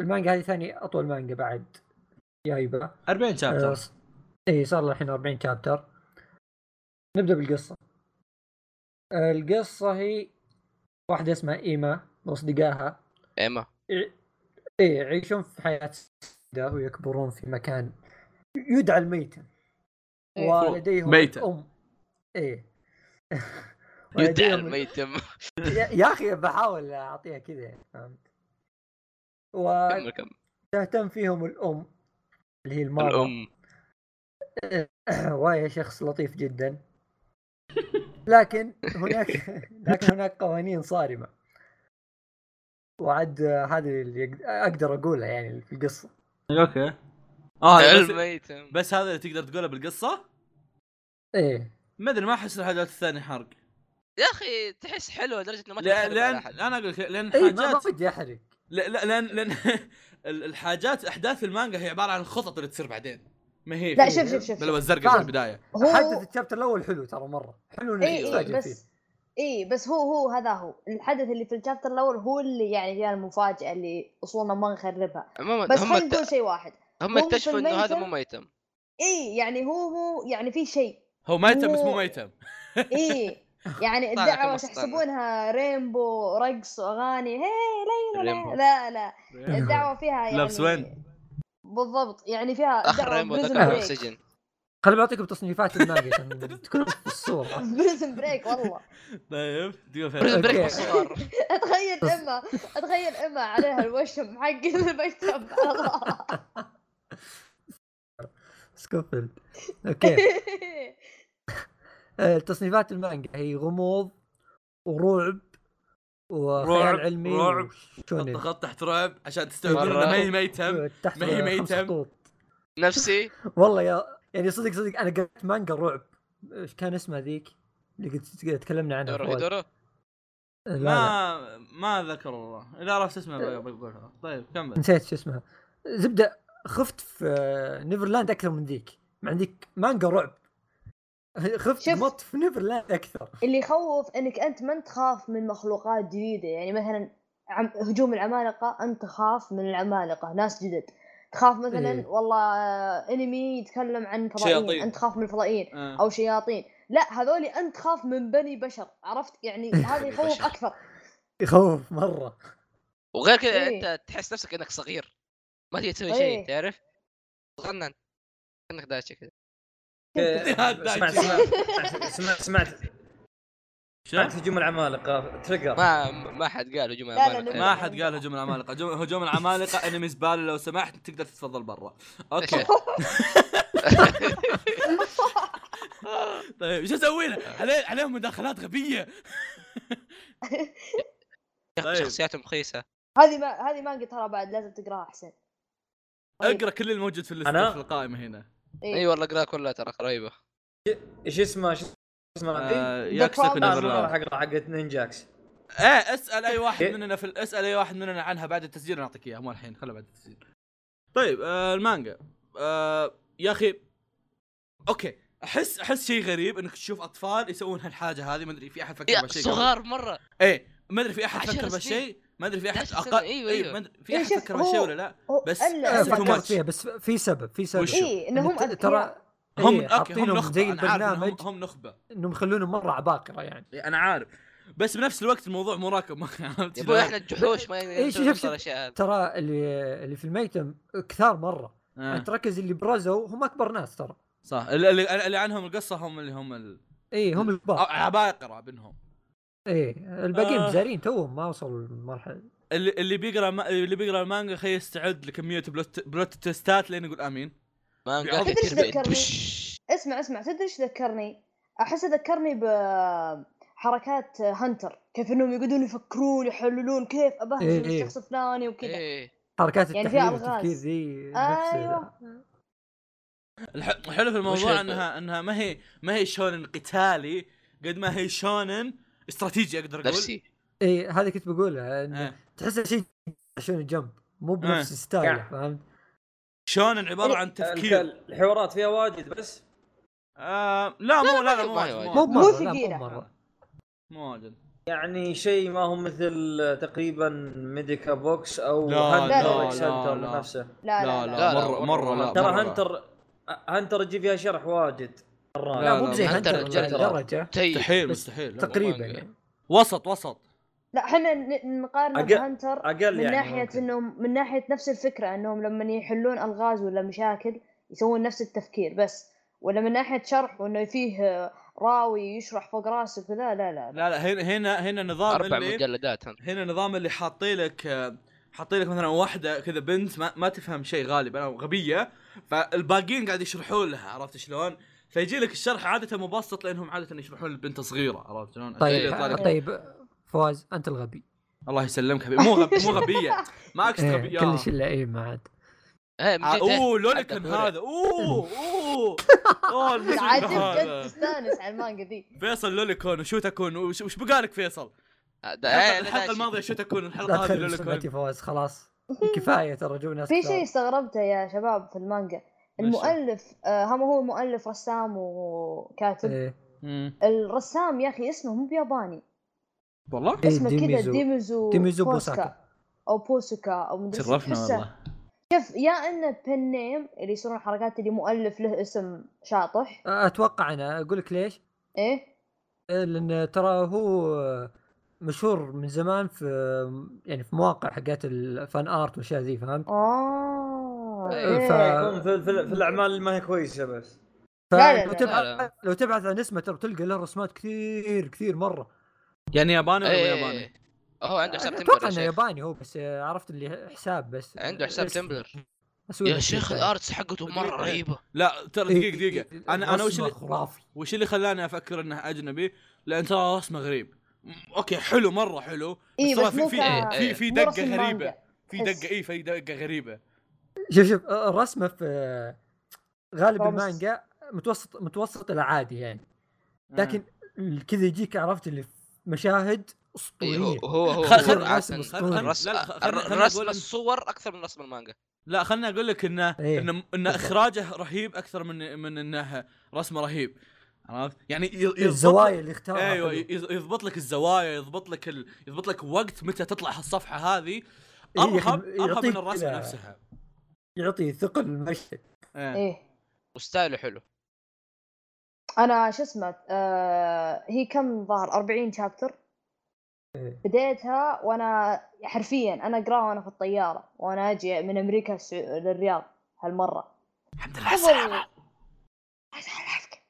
المانجا هذه ثاني اطول مانجا بعد جايبه 40 آه شابتر اي صار له الحين 40 شابتر نبدا بالقصه آه القصه هي واحده اسمها ايما واصدقائها ايما يع- ايه يعيشون في حياة سوداء ويكبرون في مكان يدعى الميتة إيه. ولديهم ميتة. أم ايه يدعى ولديهم- الميتم يا يا اخي بحاول اعطيها كذا يعني فهمت كمل كمل وتهتم فيهم الام اللي هي المرأة الام وهي شخص لطيف جدا لكن هناك لكن هناك قوانين صارمة وعد آه، هذه اللي يق- اقدر اقولها يعني في القصة اوكي اه بس, الميتم بس هذا اللي تقدر تقوله بالقصه؟ ايه ما ادري ما احس الحاجات الثانيه حرق يا اخي تحس حلوه لدرجه انه ما لا- تحرق على لان احد انا اقول لك لان اي إيه، ما حاجات بدي احرق لا لا لان لان ال- الحاجات احداث المانجا هي عباره عن الخطط اللي تصير بعدين ما هي لا، شوف- شوف- شوف. بلوى الزرقاء في فاهم. البدايه حدث هو الشابتر الاول حلو ترى مره حلو انك اي اي تستعجل بس اي بس هو هو هذا هو الحدث اللي في الشابتر الاول هو اللي يعني فيها المفاجاه اللي وصلنا ما نخربها عموما بس هم خلينا نقول شيء واحد هم هم في اكتشفوا انه هذا مو الميتم. ميتم اي يعني هو هو يعني في شيء هو ما يتم بس مو هو- ما يتم اي يعني طالع الدعوه كمصطنع. تحسبونها ريمبو رقص واغاني هي ليلى ريمبو. لا لا لا الدعوه فيها يعني لابس وين؟ بالضبط يعني فيها اخر دعوة ريمبو بريزن ذكرهم بريك. في سجن خليني بعطيكم تصنيفات المانجا عشان تكون في الصوره بريزن بريك والله طيب دقيقه فين؟ بريزن بريك أوكي. بس صغار اتخيل اما اتخيل اما عليها الوشم حق المكتب سكوفيلد اوكي آه، تصنيفات المانجا هي غموض ورعب رعب، وخيال علمي رعب، وشونين. ضغط تحت رعب عشان تستوعب مرة. انه ما هي ما يتم تحت ما هي خمس ميتم. خطوط. نفسي والله يا يعني صدق صدق انا قريت مانجا رعب ايش كان اسمها ذيك اللي قد تكلمنا عنها دورو فواز. هيدورو لا لا ما ما ذكر والله اذا عرفت اسمه بق- بقولها طيب كمل نسيت شو اسمها زبده خفت في آه، نيفرلاند اكثر من ذيك مع إن ذيك مانجا رعب خفت شفت؟ مط في نيفرلاند اكثر اللي يخوف انك انت ما تخاف من مخلوقات جديده يعني مثلا عم هجوم العمالقه انت تخاف من العمالقه ناس جدد تخاف مثلا إيه. والله آه، انمي يتكلم عن فضائيين شياطين. انت تخاف من الفضائيين آه. او شياطين لا هذول انت تخاف من بني بشر عرفت يعني هذا يخوف بشر. اكثر يخوف مره وغير كذا إيه. انت تحس نفسك انك صغير ما تقدر تسوي إيه. شيء تعرف تغنن كانك داشة كذا هاد سمعت دايجي. سمعت- سمعت سمعت سمعت هجوم العمالقه تريجر ما ما حد قال هجوم لا، عمالقة. لا، ما حد قال هجوم العمالقه هجوم- هجوم العمالقه انمي زباله لو سمحت تقدر تتفضل برا اوكي طيب ايش اسوي له؟ عليه- عليهم مداخلات غبيه يا أخي طيب. شخصياتهم خيسه هذه ما هذه مانجا ترى بعد لازم تقراها حسين رهيبة. اقرا كل الموجود في طيب. أنا؟ الليست في القائمه هنا إيه. اي أيوة والله اقراها كلها ترى قريبه ايش اسمه ايش اسمه آه آه، ياكساكو problem- نيفرلاند حق حقت نينجاكس ايه اسال اي واحد إيه. مننا في ال- اسال اي واحد مننا عنها بعد التسجيل أنا اعطيك اياها مو الحين خلها بعد التسجيل. طيب آه المانجا آه يا اخي اوكي احس احس شيء غريب انك تشوف اطفال يسوون هالحاجه هذه ما ادري في احد فكر يا بهالشيء قبل؟ صغار مره ايه ما ادري في احد عشر فكر سنين. بهالشيء ما ادري في احد عشر سنين، اقل أيوة، إيه، أيوة. ما ادري في إيه، احد شوف، فكر بهالشيء هو- ولا لا هو بس الا أحس too فكرت much. فيها بس في سبب في سبب وشو؟ اي انهم ت- اذكياء هم إيه، اوكي هم حاطينهم نخبه زي أنا عارف إنهم- البرنامج هم نخبه انهم يخلونهم مره عباقره يعني إيه، انا عارف بس بنفس الوقت الموضوع مراكب ما عرفت يا ابوي شلون؟ احنا الجحوش ما إيه، شوف- نسوي شوف- الاشياء هذه ترى اللي اللي في الميتم كثار مره آه. يعني تركز اللي برزوا هم اكبر ناس ترى صح اللي, اللي اللي عنهم القصه هم اللي هم ال... اي إيه، هم أو- الكبار عباقره بينهم اي الباقيين آه. بزارين توهم ما وصلوا للمرحله اللي اللي بيقرا ما... اللي بيقرا المانجا خي يستعد لكميه بلوت بلوت تيستات لين يقول امين ما بيعض- نقاطع تدري إيش تربية. ذكرني؟ بش. اسمع اسمع تدري ايش ذكرني؟ احس ذكرني بحركات هانتر كيف انهم يقعدون يفكرون يحللون كيف ابهدل إيه، إيه. الشخص الفلاني وكذا ايه حركات يعني التحليل فيها والتفكير ألغاز. ذي نفس ايوه الح... الحلو في وش- الموضوع انها انها ما هي ما هي شونن قتالي قد ما هي شونن استراتيجي اقدر اقول نفسي اي هذه إيه، كنت بقولها إن آه. تحس شيء شنو جنب مو إيه. بنفس يعني. ستايله فهمت؟ شونن عباره عن تفكير الحوارات فيها واجد بس آه... لا مو لا لا مو ما هي واجد، واجد. مو مو مو بمره لا ثقيلة. مو مره مو واجد يعني شيء ما هو مثل تقريبا ميديكا بوكس او لا، هانتر لا، إكس لا، هانتر لا. نفسه لا لا لا, لا، لا، مره مرة- مره لا مرة. ترى مرة. هانتر هانتر يجي فيها شرح واجد مرات. لا، لا مو لا، زي ما هنتر درجة. لدرجه تي مستحيل بس مستحيل لا، تقريبا مانجا. يعني وسط وسط لا احنا ن- نقارنه أقل- بهانتر اقل من يعني ناحية ممكن. انهم من ناحية نفس الفكرة انهم لما يحلون الغاز ولا مشاكل يسوون نفس التفكير بس ولا من ناحية شرح وانه فيه آه، راوي يشرح فوق راسه كذا لا لا لا لا لا هنا هنا هنا نظام اربع اللي مجلدات هن. هنا نظام اللي حاطين لك آه، حاطين لك مثلا واحده كذا بنت ما, ما تفهم شيء غالبا او غبيه فالباقيين قاعد يشرحون لها عرفت شلون؟ فيجي لك الشرح عاده مبسط لانهم عاده يشرحون للبنت صغيره عرفت شلون؟ عشان كذا يطلع طيب لك- طيب فواز انت الغبي الله يسلمك حبيبي مو غبي مو غبيه ما اقصد إيه، غبيه كلش الا اي ما عاد إيه، آه، مجلد- إيه. اوه لولكن حتى هذا اوه اوه اوه المسلسل عاد هذا. جد تستانس على المانجا ذي فيصل لوليكون وشو تكون وش وش بقالك فيصل؟ آه، ده- إيه، الحلقة- لا، الحلقه شيء. الماضيه شو تكون لا الحلقه هذه تخلي لوليكون سمعتي فواز خلاص كفايه ترى جو ناس في كثار. شيء استغربته يا شباب في المانجا المؤلف آه هم هو مؤلف رسام وكاتب إيه. مم. الرسام يا اخي اسمه مو بياباني والله إيه، اسمه كذا ديميزو. ديميزو ديميزو بوسكا. بوساكا. او بوسكا او مدري إيش. شرفنا تحسه- والله شوف يا انه بن نيم اللي يصيرون حركات اللي مؤلف له اسم شاطح اتوقع انا اقول لك ليش؟ ايه إيه، لان ترى هو مشهور من زمان في يعني في مواقع حقت الفان ارت والاشياء ذي فهمت؟ اه إيه، ف- إيه. يكون في, في, في الاعمال اللي ما هي كويسه بس لا، لا، لا، فلو لا، تبحث لا. لو تبحث عن اسمه ترى بتلقى له رسومات كثير كثير مره يعني ياباني ولا مو إيه، ياباني؟ هو عنده حساب تمبلر اتوقع يا انه شيخ. ياباني هو بس آه، عرفت اللي حساب بس عنده حساب اسم. تمبلر أسوي يا له شيخ كذا. الارتس حقته مره إيه. رهيبه لا ترى إيه، دقيقة دقيقة انا انا وش رسمه اللي خرافي وش اللي خلاني افكر انه اجنبي؟ لان ترى رسمه غريب م- اوكي حلو مرة حلو إيه، ترى بس مو في كا- في في, في مو رسم دقة مانجا. غريبة في حس. دقة اي في دقة غريبة شوف شوف آه، الرسمه في آه، غالب رمز. المانجا متوسط متوسط الى عادي يعني لكن كذا يجيك عرفت اللي في مشاهد إيه، اسطوريه هو هو هو خل- هو خل- الرسم- رسم- خل- خل- الرسم- لا، لا، خل- خلنا- خلنا آه، الرسم أقول إن- الصور اكثر من رسم المانجا لا خلنا اقول لك انه إيه. انه انه بالضبط. اخراجه رهيب اكثر من من انه رسمه رهيب عرفت؟ يعني ي- يضبط لك- الزوايا اللي اختارها ايوه حلوة. يز- يضبط لك الزوايا يضبط لك ال... يضبط لك وقت متى تطلع هالصفحه هذه إيه، ارهب يخ- ارهب من يعطيك الرسمه كذا- نفسها يعطي ثقل المشهد إيه. ايه وستايله حلو انا شو اسمه آه هي كم ظهر 40 شابتر إيه. بديتها وانا حرفيا انا اقراها وانا في الطياره وانا اجي من امريكا السع- للرياض هالمره الحمد لله على قبل السلامه عسى على عافيتك.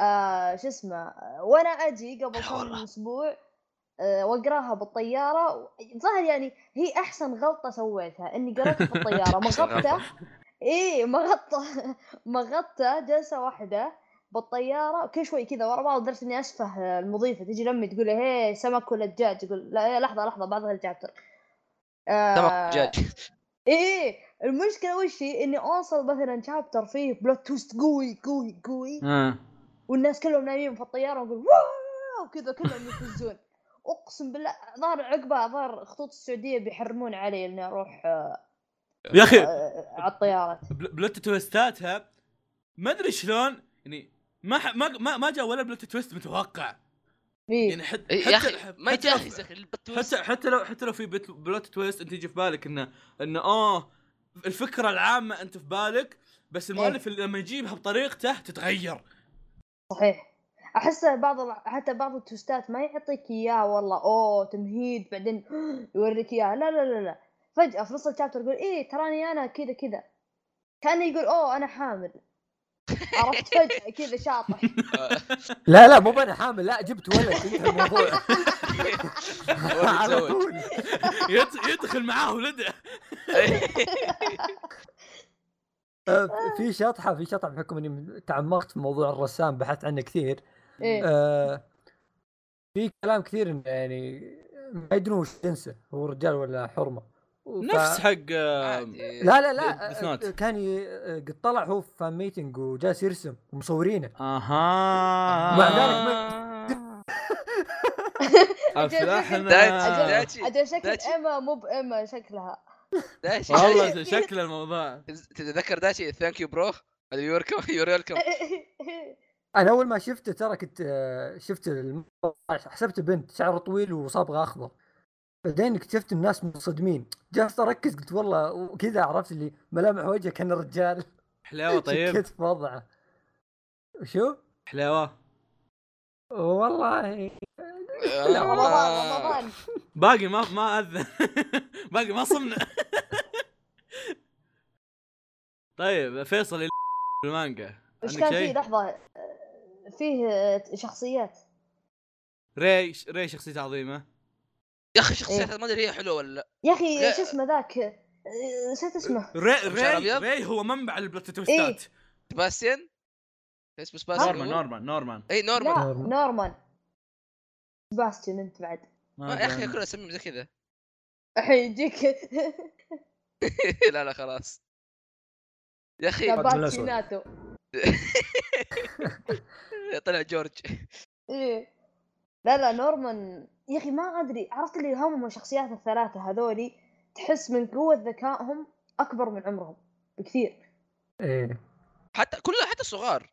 آه شو اسمه وانا اجي قبل هلا كم والله. اسبوع آه واقراها بالطياره و- ظهر يعني هي احسن غلطه سويتها اني قريتها في إيه، الطياره أحسن مغطى غلطة. ايه مغطى مغطى جلسه واحده بالطياره كل شوي كذا ورا بعض لدرجه اني اسفه المضيفه تجي لمي تقول لي هي سمك ولا دجاج يقول لا إيه، لحظه لحظه بعضها الجابتر آه، سمك دجاج اي اي المشكله إيه، وش هي اني اوصل مثلا شابتر فيه بلوت توست قوي قوي قوي آه. والناس كلهم نايمين في الطياره ونقول واو كذا كلهم يفزون اقسم بالله ظهر عقبه ظهر خطوط السعوديه بيحرمون علي اني اروح آه، يا اخي آه، على الطيارات بل- بلوت تويستاتها ما ادري شلون يعني ما ح... ما ما, ما جاء ولا بلوت تويست متوقع إيه. يعني حتى يا اخي ما يجهز يا اخي حتى حتى لو حتى لو في بت- بلوت تويست انت يجي في بالك انه انه اه الفكره العامه انت في بالك بس المؤلف اللي لما يجيبها بطريقته تتغير صحيح احس بعض الع- حتى بعض التوستات ما يعطيك اياه والله اوه تمهيد بعدين يوريك اياه لا لا لا لا فجاه في نص الشابتر يقول ايه تراني انا كذا كذا كانه يقول اوه انا حامل عرفت فجاه كذا شاطح لا لا مو انا حامل لا جبت ولد انتهى الموضوع على متزوج طول يد- يدخل معاه ولده آه، في شطحه في شطحه بحكم اني تعمقت في موضوع الرسام بحثت عنه كثير ايه آه، في كلام كثير إنه يعني ما يدرون وش جنسه هو رجال ولا حرمه ف- نفس حق آه، لا لا لا It's آه، not. كان ي- آه، قد طلع هو في فان ميتنج وجالس يرسم ومصورينه آه. مع ذلك اها أجل- افلحنا دايتشي اجل شكل دايتشي. اما مو باما شكلها داشي والله شكل الموضوع تتذكر داشي ثانك يو برو يو ويلكم يو ويلكم انا اول ما شفته ترى كنت آه، شفت الم- حسبته بنت شعره طويل وصبغه اخضر بعدين اكتشفت الناس منصدمين جلست اركز قلت والله وكذا عرفت اللي ملامح وجهه كان رجال حلاوه طيب شكيت في وضعه وشو؟ حلاوه والله إيه. آه. لا رمضان آه. رمضان باقي ما ما اذن باقي ما صمنا طيب فيصل اللي المانجا وش عندك كان فيه شيء؟ لحظه فيه آه، شخصيات ري ري شخصيته عظيمه يا اخي شخصيات ما ادري هي حلوه ولا لا يا اخي لا. شو اسمه ذاك آه، نسيت اسمه ري شعر ري أبيض؟ ري هو منبع البلوت تويستات إيه. سباستيان اسمه سباستيان نورمان نورمان نورمان اي نورمان لا نورمان. نورمان سباستيون انت بعد ما- يا اخي كلها اسميهم زي كذا الحين يجيك لا لا خلاص يا اخي الأسود. سباستيوناتو طلع جورج ايه لا لا نورمان يا اخي ما ادري عرفت اللي هم الشخصيات الثلاثه هذولي تحس من قوه ذكائهم اكبر من عمرهم بكثير ايه حتى كلها حتى صغار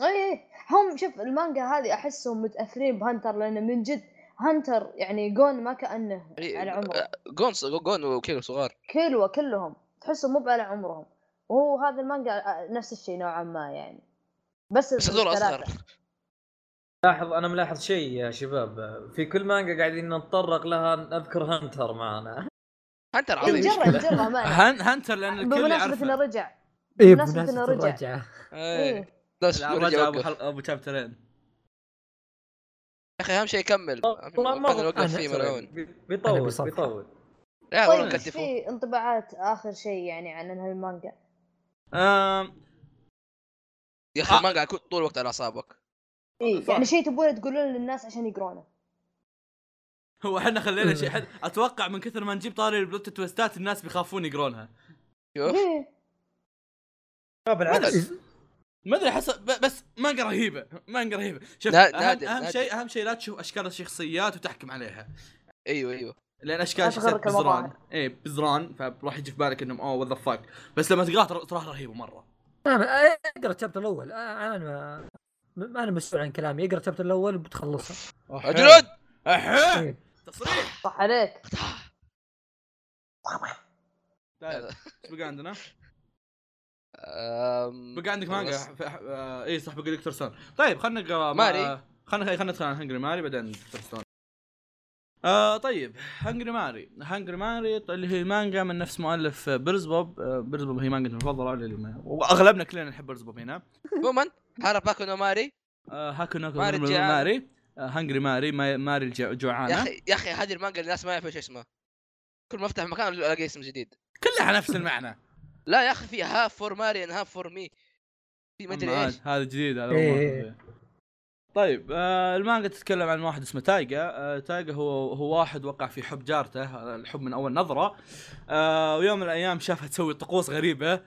اي إي، إيه، هم شوف المانجا هذه احسهم متاثرين بهانتر لان من جد هانتر يعني جون ما كانه إي، على عمره جون جون وكيلو صغار كلوة كلهم تحسهم مو على عمرهم وهو هذا المانجا آه، نفس الشيء نوعا ما يعني بس بس هذول الثلاثة. اصغر لاحظ انا ملاحظ شيء يا شباب في كل مانجا قاعدين نتطرق لها نذكر هانتر معنا هانتر إي، عظيم نجرها نجرها معنا هن هنتر لان الكل بمناسبه انه يعرف رجع ايه بمناسبة بمناسبة الرجع. الرجعة إي. ايه إيه. بس رجع نرجع ابو نوقف. يا حلقه ابو شابترين اخي اهم شيء طيب. يكمل والله ما كان أظن- نوقف فيه من هون أنا بيطول بصفحة. بيطول لا والله طيب نكتفه في انطباعات اخر شيء يعني عن هالمانجا آم، يا اخي المانجا كنت طول الوقت على اعصابك اي صح. يعني شيء تبون تقولون للناس عشان يقرونه هو احنا خلينا شيء حد اتوقع من كثر ما نجيب طاري البلوت تويستات الناس بيخافون يقرونها شوف إيه. لا بالعكس إيه، ما ادري احس ب- بس مانجا رهيبه مانجا رهيبه شوف نا- اهم, نادر- أهم نادر. شيء اهم شيء لا تشوف اشكال الشخصيات وتحكم عليها ايوه ايوه لان اشكال لا الشخصيات تغرك بزران المظاهر. اي بزران فراح يجي في بالك انهم اوه وذا فاك بس لما تلقاها ترى- تراها رهيبه مره نعم آه، اقرا الشابتر الاول آه، انا ما ما انا مسؤول عن كلامي اقرا الشابتر الاول بتخلصها جنود أحي. إيه. تصريح صح عليك طيب ايش بقى عندنا؟ أم، بقى عندك مانجا خلاص. ف- آه، اي صح بقى دكتور سون طيب خلنا نقرا ماري. خلنا خلنا ندخل عن هنجري ماري بعدين دكتور سون آه طيب هنجري ماري هنجري ماري ط- اللي هي مانجا من نفس مؤلف آه، بيرز بوب آه، بيرز بوب هي مانجا المفضله للي ما- واغلبنا كلنا نحب بيرز بوب هنا عموما حارب باكو نو ماري آه هاكو نوكو ماري ماري الجعانة. ماري آه هنجري ماري ما- ماري الجع- يا الجوعانه اخي يا اخي هذه المانجا الناس ما يعرفوا ايش اسمها كل ما افتح مكان الاقي اسم جديد كلها نفس المعنى لا يا اخي في هاف فور ماري ان هاف فور مي في ما ادري ايش هذا جديد هذا إيه. إيه. طيب آه المانجا تتكلم عن واحد اسمه تايجا آه تايجا هو هو واحد وقع في حب جارته هذا الحب من اول نظره آه ويوم من الايام شافها تسوي طقوس غريبه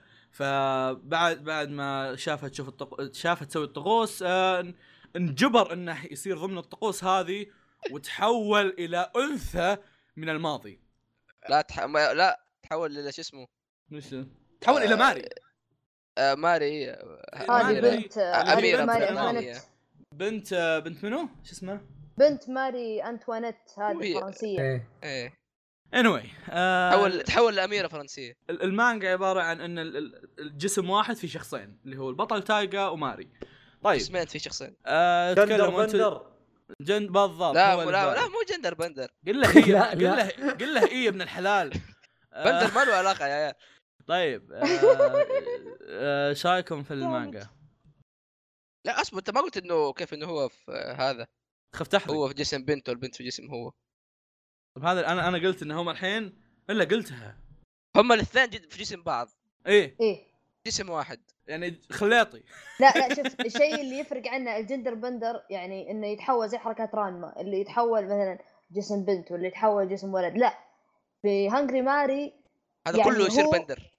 فبعد بعد ما شافها تشوف الطق... شافها تسوي الطقوس آه انجبر انه يصير ضمن الطقوس هذه وتحول الى انثى من الماضي لا تح... ما... لا تحول الى شو اسمه مش تحول الى ماري آه ماري هي هذه أميرة. بنت آه، أميرة هذه ماري بنت أميرة. انتوانيت بنت آه، بنت منو؟ شو اسمه؟ بنت ماري انتوانيت وهي- هذه فرنسيه ايه ايه anyway آه تحول تحول لاميره فرنسيه ال- المانجا عباره عن ان ال- ال- الجسم واحد في شخصين اللي هو البطل تايجا وماري طيب سمعت في شخصين آه جندر تكلموا أنتوا- بندر جن بالضبط لا هو مو اللي لا, ذا. لا مو جندر بندر قل له إيه لا، قل لا. له قل له ايه يا ابن الحلال آه، بندر ما له علاقه يا عيال طيب آه، آه، ايش رايكم في المانجا؟ لا اصبر انت ما قلت انه كيف انه هو في آه، هذا خفت احرق هو في جسم بنت والبنت في جسم هو طب هذا انا انا قلت ان هم الحين الا قلتها هم الاثنين جد- في جسم بعض ايه ايه جسم واحد يعني خلاطي لا لا شوف الشيء اللي يفرق عنه الجندر بندر يعني انه يتحول زي حركات رانما اللي يتحول مثلا جسم بنت واللي يتحول جسم ولد لا في هانجري ماري هذا يعني كله يصير هو- بندر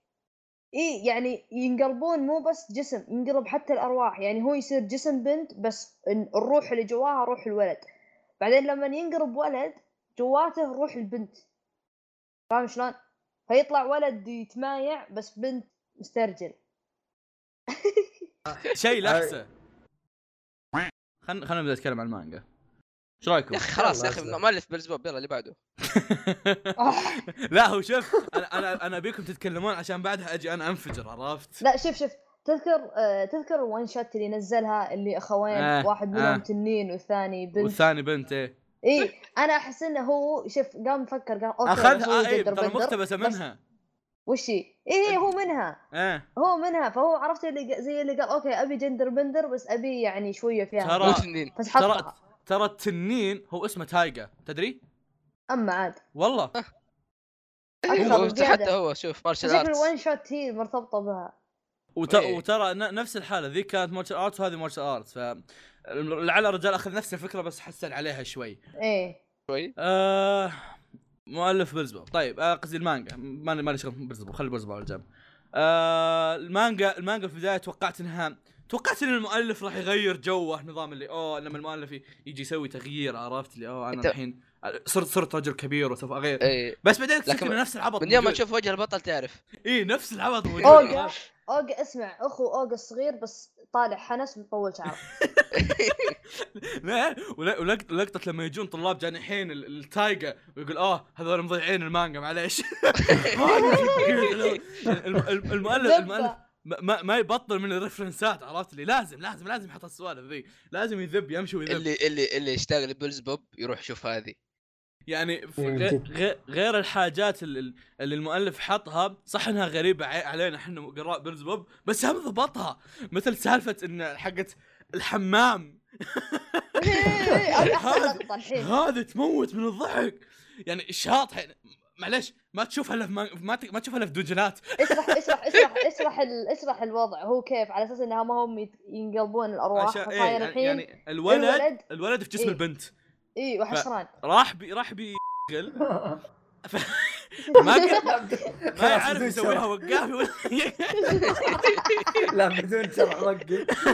ايه يعني ينقلبون مو بس جسم ينقلب حتى الارواح يعني هو يصير جسم بنت بس إن الروح اللي جواها روح الولد بعدين لما ينقلب ولد جواته روح البنت فاهم شلون؟ فيطلع ولد يتمايع بس بنت مسترجل شيء لحسه خلنا خلنا نبدا نتكلم عن المانجا ايش رايكم؟ يا اخي خلاص يا اخي يلا، مؤلف بالزبوب يلا اللي بعده لا هو شوف انا انا انا ابيكم تتكلمون عشان بعدها اجي انا انفجر عرفت؟ لا شوف شوف تذكر آه تذكر الون شوت اللي نزلها اللي اخوين آه، آه واحد منهم آه. آه تنين والثاني بنت والثاني بنت ايه اي انا احس انه هو شوف قام مفكر قال اوكي اخذها آه، اخذها ايه اي ترى مقتبسه منها وش هي؟ اي هو منها ايه هو منها فهو عرفت اللي ق- زي اللي قال اوكي ابي جندر بندر بس ابي يعني شويه فيها ترى- مو بنت، تنين بس ترى حطها ترى التنين هو اسمه تايجا تدري؟ اما عاد والله أه. اكثر من حتى زياده هو شوف مارشال شكل الون ارتس شوت هي مرتبطه بها وت... إيه. وترى ن- نفس الحاله ذيك كانت مارشال ارتس وهذه مارشال ارتس ف لعل الرجال اخذ نفس الفكره بس حسن عليها شوي. ايه شوي آه... مؤلف بيرزبو طيب آه، قصدي المانجا ماني ماني شغل بيرزبو خلي بيرزبو على جنب آه... المانجا المانجا في البدايه توقعت انها توقعت ان المؤلف راح يغير جوه نظام اللي اوه لما المؤلف ي- يجي يسوي تغيير عرفت اللي اوه انا أنت- الحين صرت صرت رجل كبير وسوف اغير اي بس بعدين اكتشفت إيه. لكن انه نفس العبط من يوم ما موجود. تشوف وجه البطل تعرف ايه نفس العبط موجود اوجا اوجا اسمع اخو اوجا الصغير بس طالع حنس مطول شعره لا ولا- ولقط- لقطه لما يجون طلاب جانحين ال- التايجا ويقول اه هذول مضيعين المانجا معليش الم- الم- المؤلف المؤلف ذبة. ما- ما ما يبطل من الريفرنسات عرفت لي لازم لازم لازم يحط السوالف ذي لازم يذب يمشي ويذب اللي اللي اللي يشتاق لبيلز بوب يروح يشوف هذه يعني في إيه، غي- جد. غي- غير الحاجات ال- ال- اللي المؤلف حطها صح انها غريبه عي- علينا احنا قراء بيرز بوب بس هم ضبطها مثل سالفه ان حقت الحمام إيه، إيه، إيه، أبي أحصل لقطة الحين هذا تموت من الضحك يعني شاطح يعني معلش ما تشوفها الا في ما- ما ت- ما تشوفها الا في دجلات اشرح اشرح اشرح اشرح ال- اشرح الوضع هو كيف على اساس انها ما هم يت- ينقلبون الارواح عشان- إيه، فصاير يعني, الحين يعني الولد الولد- الولد في جسم إيه. البنت اي وحشران راح بي راح بي ما قدر- ما خلاص، يعرف بدون يسويها شرح. وقافي ولا لا بدون شرح وقف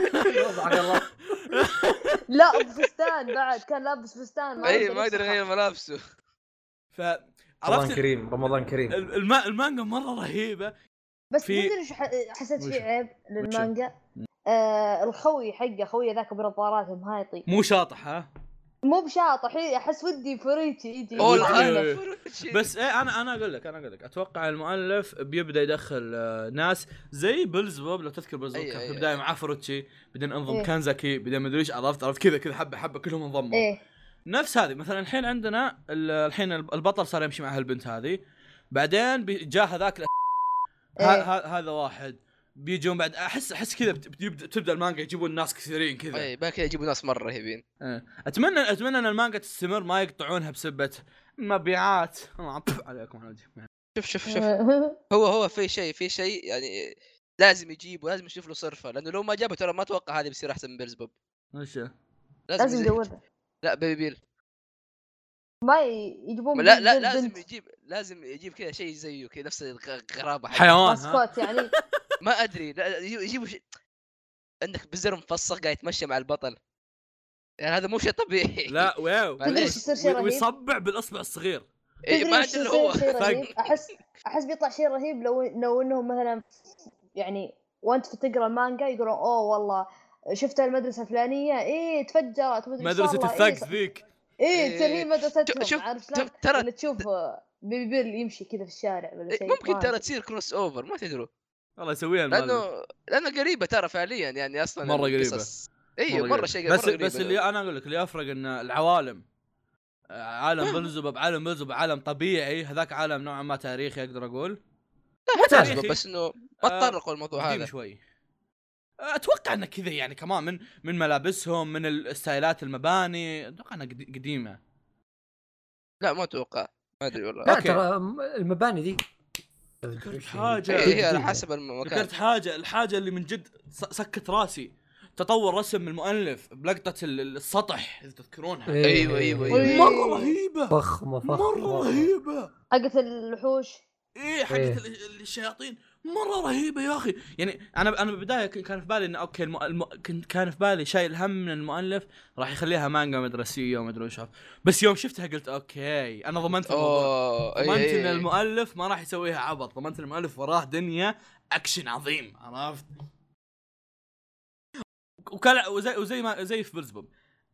وضعك الله لا فستان بعد كان لابس فستان يقدر اي إيه، ما يقدر يفسخها. يغير ملابسه ف رمضان عرفت كريم رمضان كريم ال- الم- المانجا مره رهيبه بس في- في... تدري شو ح- حسيت وشو؟ فيه عيب للمانجا آه الخوي حقه خوي ذاك بنظارات مهايطي مو شاطح ها مو بشاطح إيه، احس ودي فريتي يجي اوه لا. يتعنف. إيه. العالم فرنسي. بس ايه انا انا اقول لك انا اقول لك اتوقع المؤلف بيبدا يدخل آه، ناس زي بيلز بوب لو تذكر بيلز بوب أي- كان في أي- البدايه مع فروتشي بعدين انضم إيه. كانزاكي بعدين مدري ايش عرفت عرفت كذا كذا حبه حبه كلهم انضموا ايه نفس هذه مثلا الحين عندنا ال- الحين الب- البطل صار يمشي مع هالبنت هذه بعدين بي- جاء هذاك ال- ه- ايه ه- هذا واحد بيجون بعد احس احس كذا بت- بيبدا تبدا المانجا يجيبون ناس كثيرين كذا إيه. اي بعد كذا إيه، يجيبوا ناس مره رهيبين اتمنى اتمنى ان المانجا تستمر ما يقطعونها بسبه مبيعات الله عليكم على وجهي آه. شوف شوف شوف هو هو في شيء في شيء يعني لازم يجيبه لازم يشوف له صرفه لانه لو ما جابه ترى ما اتوقع هذه بيصير احسن من بيرزبوب وش لازم يزيد. يجودها لا بيبي بيل ما ي- يجيبون لا بنت لا زي لازم البنت. يجيب لازم يجيب كذا شيء زيه كذا نفس الغ- الغرابه حقه. حيوان ها ماسكوت يعني ما ادري لا يجيبوا- يجيبوا شيء عندك بزر مفصل قاعد يتمشى مع البطل يعني هذا مو شيء طبيعي لا واو تدري ايش معليش. يصير شيء وي- رهيب؟ ويصبع بالاصبع الصغير إيه، تدري ما ايش ادري إلا هو يصير شيء فاق. رهيب؟ احس احس بيطلع شيء رهيب لو لو انهم مثلا يعني وانت في تقرا المانجا يقولون اوه والله شفت المدرسه الفلانيه ايه تفجرت ومدري إيش صار مدرسه لها، الثاكس إيه ذيك ايه تصير إيه. هي شوف- شوف- مدرستهم عارف شلون؟ شوف، ترى- ولا تشوف آه، بيبي بيل يمشي كذا في الشارع ولا إيه، شيء ممكن ما ترى أدري. تصير كروس اوفر ما تدروا والله يسويها المال لانه لانه قريبه ترى فعليا يعني اصلا مرة قريبة. القصص- ايوه مره شيء بس مرة يعني. بس قريبة. اللي انا اقول لك اللي يفرق ان العوالم آه، عالم بلزبب عالم بلزبب عالم طبيعي هذاك عالم نوعا ما تاريخي اقدر اقول مو تاريخي. تعجبه بس انه ما آه، تطرقوا الموضوع قديم هذا شوي آه، اتوقع انه كذا يعني كمان من من ملابسهم من الستايلات المباني اتوقع انها قد- قديمه لا ما اتوقع ما ادري والله لا أوكي. ترى المباني ذي حاجة. إيه، هي على جديدة. حسب المكان ذكرت حاجه الحاجه اللي من جد س- سكت راسي تطور رسم المؤلف بلقطه ال- ال- السطح اذا تذكرونها إيه، أيوة، أيوة، أيوة. إيه. مره رهيبه فخمه فخمه مره رهيبه حقت الوحوش ايه حقت إيه. ال- الشياطين مره رهيبه يا اخي يعني انا انا بالبدايه ك- كان في بالي انه اوكي الم... الم... كنت كان في بالي شايل هم من المؤلف راح يخليها مانجا مدرسيه وما ادري وش عارف. بس يوم شفتها قلت اوكي انا ضمنت الموضوع اوه أي- ضمنت أي- ان أي. المؤلف ما راح يسويها عبط ضمنت إن المؤلف وراه دنيا اكشن عظيم عرفت وكان وزي, وزي ما زي في بلزبوب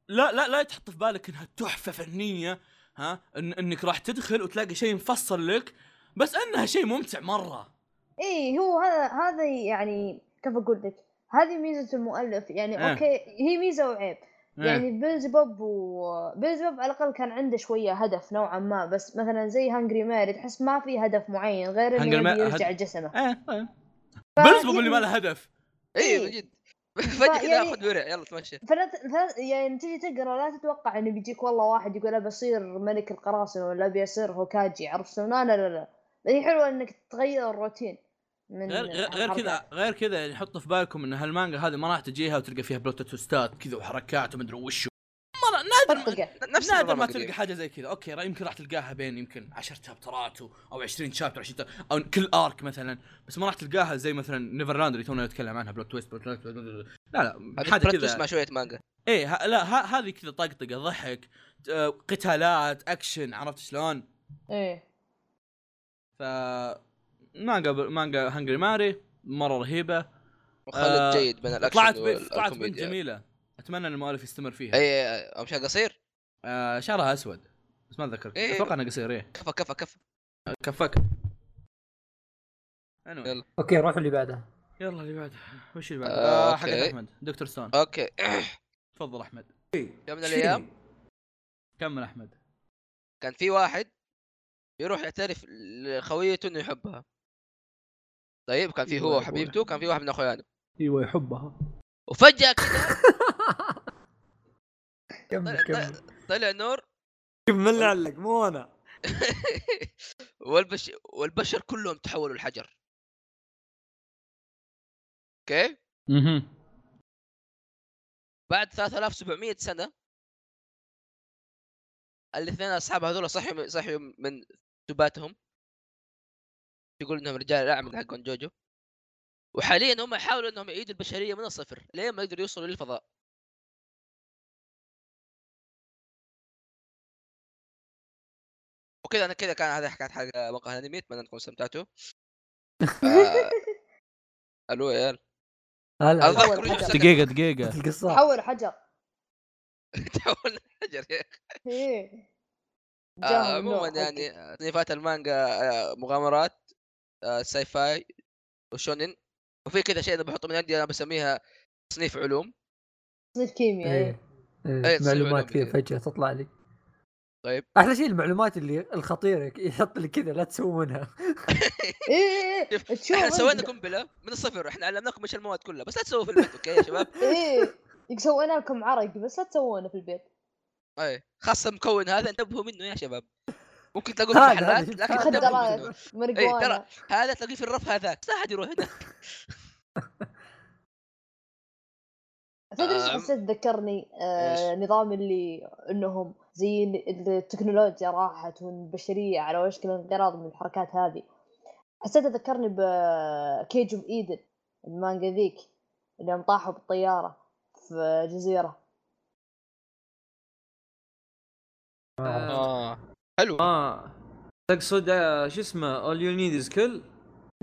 لا لا لا تحط في بالك انها تحفه فنيه ها إن انك راح تدخل وتلاقي شيء مفصل لك بس انها شيء ممتع مره ايه هو هذا هذا يعني كيف اقول لك هذه ميزه المؤلف يعني آه. إيه. اوكي هي ميزه وعيب يعني بيلزبوب و بيلزبوب على الاقل كان عنده شويه هدف نوعا ما بس مثلا زي هانجري ماري تحس ما في هدف معين غير انه Hungry Ma- يبي يرجع هد- جسمه ايه إيه. فهي- بلزبوب اللي ما له هدف اي من إيه. جد فجاه كذا يعني- اخذ ورع يلا تمشي فلا ت- فلا يعني تجي تقرا لا تتوقع انه بيجيك والله واحد يقول ابي اصير ملك القراصنه ولا ابي اصير هوكاجي عرفت شلون؟ لا لا لا لا هي حلوه انك تغير الروتين من غير غير- غير الحركات. كذا غير كذا يعني حطوا في بالكم ان هالمانجا هذه ما راح تجيها وتلقى فيها بلوت توستات كذا وحركات ومدري وش ما را- نادر طقطقة. نفس نادر النظام ما القديم. تلقى حاجه زي كذا اوكي را- يمكن راح تلقاها بين يمكن 10 شابترات و- او 20 شابتر 20 شابتر، او كل ارك مثلا بس ما راح تلقاها زي مثلا نيفرلاند اللي تونا نتكلم عنها بلوت تويست بلوت تويست بلوت تويست. لا لا هذه حاجه براد بيت مع كذا شويه مانجا ايه ه- لا ه- هذه كذا طقطقه ضحك آه، قتالات اكشن عرفت شلون؟ ايه ف مانجا مانجا هنجري ماري مره رهيبه آه، وخالد جيد بين الاكشن طلعت بنت طلعت بنت والكوميديا. جميله اتمنى ان المؤلف يستمر فيها اي أي، أي، مشان إيه. قصير آه شعرها اسود بس ما اتذكر إيه. اتوقع انه قصير ايه كفى كفى كفى كفك anyway. يلا. اوكي روحوا اللي بعده يلا اللي بعده وش اللي بعده؟ آه، آه حق أوكي. آه. احمد دكتور ستون اوكي تفضل احمد يوم من الايام كمل احمد كان في واحد يروح يعترف لخويته انه يحبها طيب كان في هو وحبيبته كان في واحد من اخوانه ايوه يحبها وفجاه كذا كمل كمل طلع نور كملنا علق مو انا والبش... والبشر كلهم تحولوا لحجر اوكي اها بعد 3700 سنه الاثنين اصحاب هذول صحيوا صحيوا من سباتهم يقول انهم رجال الاعمد حقهم جوجو وحاليا هم يحاولوا انهم يعيدوا البشريه من الصفر لين ما يقدروا يوصلوا للفضاء وكذا انا كذا كان هذه حكايه حلقه موقع الانمي اتمنى انكم استمتعتوا آه، الو يا عيال هلا أظن- اتذكر يوسف دقيقه دقيقه القصه تحول حجر تحول حجر يا أخي. ايه آه، جاهم عموما النوع حقي. يعني آه، تصنيفات المانجا آه، مغامرات آه، ساي فاي وشونن وفي كذا شيء انا بحطه من عندي انا بسميها تصنيف علوم تصنيف كيمياء إيه. ايه إيه، تصير معلومات كذا معلومة كذا. فجاه تطلع لي طيب احلى شيء المعلومات اللي الخطيره يحط لك كذا لا تسوونها ايه ايه شوف، تشوف احنا أنت. سوينا قنبله من الصفر احنا علمناكم ايش المواد كلها بس لا تسووا في البيت اوكي يا شباب ايه يك- سوينا لكم عرق بس لا تسوونه في البيت اي خاصه المكون هذا انتبهوا منه يا شباب ممكن تلاقوه في هذا- محلات هذا- لكن هذا- انتبهوا منه مخدرات ترى- مرقوانا هذا تلاقيه في الرف هذاك لا احد يروح هناك تدري ايش أم. حسيت ذكرني آه نظام اللي انهم زي ال- التكنولوجيا راحت والبشريه على وشك الانقراض من الحركات هذه حسيت ذكرني بكيج اوف ايدن المانجا ذيك اللي يوم طاحوا بالطياره في جزيره ما- اه حلو اه تقصد آه، شو اسمه اول يو نيد از كل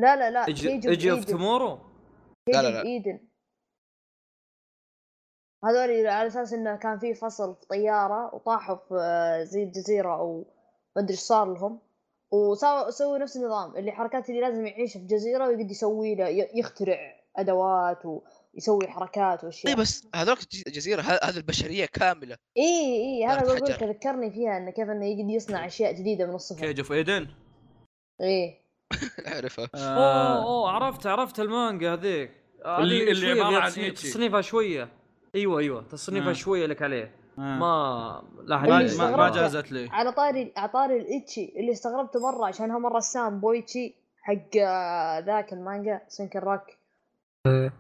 لا لا لا كيج ايجي اوف اوف ايدن تومورو كيج لا لا اوف لا. ايدن هذول على اساس انه كان في فصل في طياره وطاحوا في آه، زي الجزيره او ما ادري ايش صار لهم وسووا سووا نفس النظام اللي حركات اللي لازم يعيش في جزيره ويقعد يسوي له ي- يخترع ادوات ويسوي حركات اي واشياء طيب، بس هذوك الج- الجزيره ه- هذه البشريه كامله اي اي إيه، هذا ضرب بقول لك حجر. ذكرني فيها انه كيف انه يقعد طيب. يصنع اشياء جديده من الصفر كيج اوف ايدن ايه اعرفها اوه آه، اوه آه. عرفت عرفت المانجا هذيك آه، اللي- هذه اللي شوية عبارة فيها عن تصنيف- إيتشي. تصنيفها شويه ايوه ايوه تصنيفها آه. شويه لك عليه ما ما لا أحد اللي ما- يدري. ما ما استغربت. جازت لي على طاري على طاري الايتشي اللي استغربته مره عشانها مره سام بويتشي حق آه، ذاك المانجا سينكن راك إيه.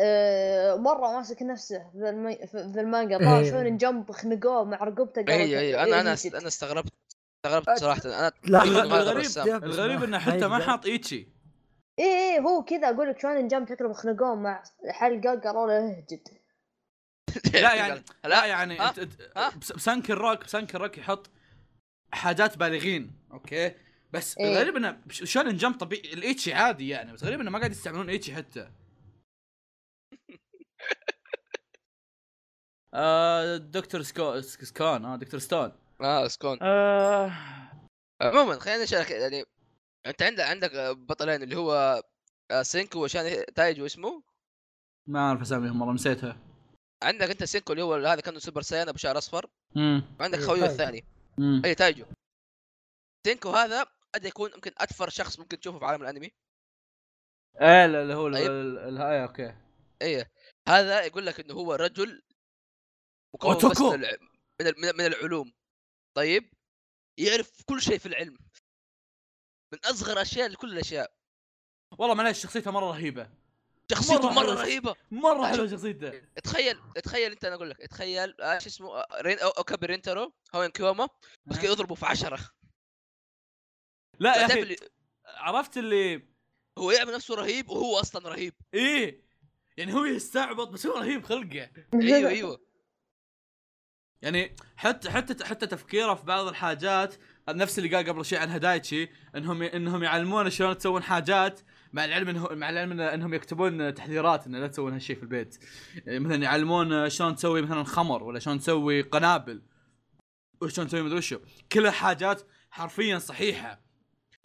آه، مره ماسك نفسه في, الم... في في المانجا إيه. طار شونن جنب خنقوه مع رقبته إيه، إيه، قالوا اي اي انا انا يجد. انا استغربت استغربت صراحه انا لا الغ- هذا الغريب- الرسام. الغريب انه حتى أيوة. ما حاط ايتشي اي اي إيه، هو كذا اقول لك شونن جمب شكله خنقوه مع حلقه قالوا له إيه، اهجد لا يعني لا يعني ها؟ أنت- أنت- ها؟ بس- بسانك الروك بسانك الروك يحط حاجات بالغين اوكي بس إيه. الغريب انه بش- شونن جمب طبيعي الايتشي عادي يعني بس غريب انه ما قاعد يستعملون ايتشي حتى آه دكتور سكو سك- سكون اه دكتور ستون اه سكون آه عموما خلينا نشارك يعني انت عندك عندك آه، بطلين اللي هو آه، سينكو وشان تايج واسمه ما اعرف اساميهم والله نسيتها عندك انت سينكو اللي هو هذا كانه سوبر سايان ابو شعر اصفر امم وعندك إيه، خويه تايجو. الثاني امم اي تايجو سينكو هذا قد يكون يمكن اكثر شخص ممكن تشوفه في عالم الانمي ايه لا- اللي هو طيب. الهاي اوكي اي هذا يقول لك انه هو رجل مكون بس أوتوكو. من, الع... من, ال... من- من العلوم طيب يعرف كل شيء في العلم من اصغر اشياء لكل الاشياء والله معليش شخصيته مره رهيبه شخصيته مرة مره حلوة. رهيبه مره حلوه شخصيته تخيل تخيل انت انا اقول لك تخيل آه، شو اسمه آه، رين أو- اوكابي رينترو هوين كيوما بس كده يضربوا في عشرة لا آه. يا تعرف اخي اللي عرفت اللي هو يعمل نفسه رهيب وهو اصلا رهيب ايه يعني هو يستعبط بس هو رهيب خلقه إيه، ايوه ايوه يعني حتى حتى حتى تفكيره في بعض الحاجات نفس اللي قال قبل شيء عن هدايتشي انهم انهم يعلمونا شلون تسوون حاجات مع العلم انه مع العلم إنه- انهم يكتبون تحذيرات انه لا تسوون هالشيء في البيت يعني مثلا يعلمون شلون تسوي مثلا خمر ولا شلون تسوي قنابل وشلون تسوي مدري وشو كلها حاجات حرفيا صحيحه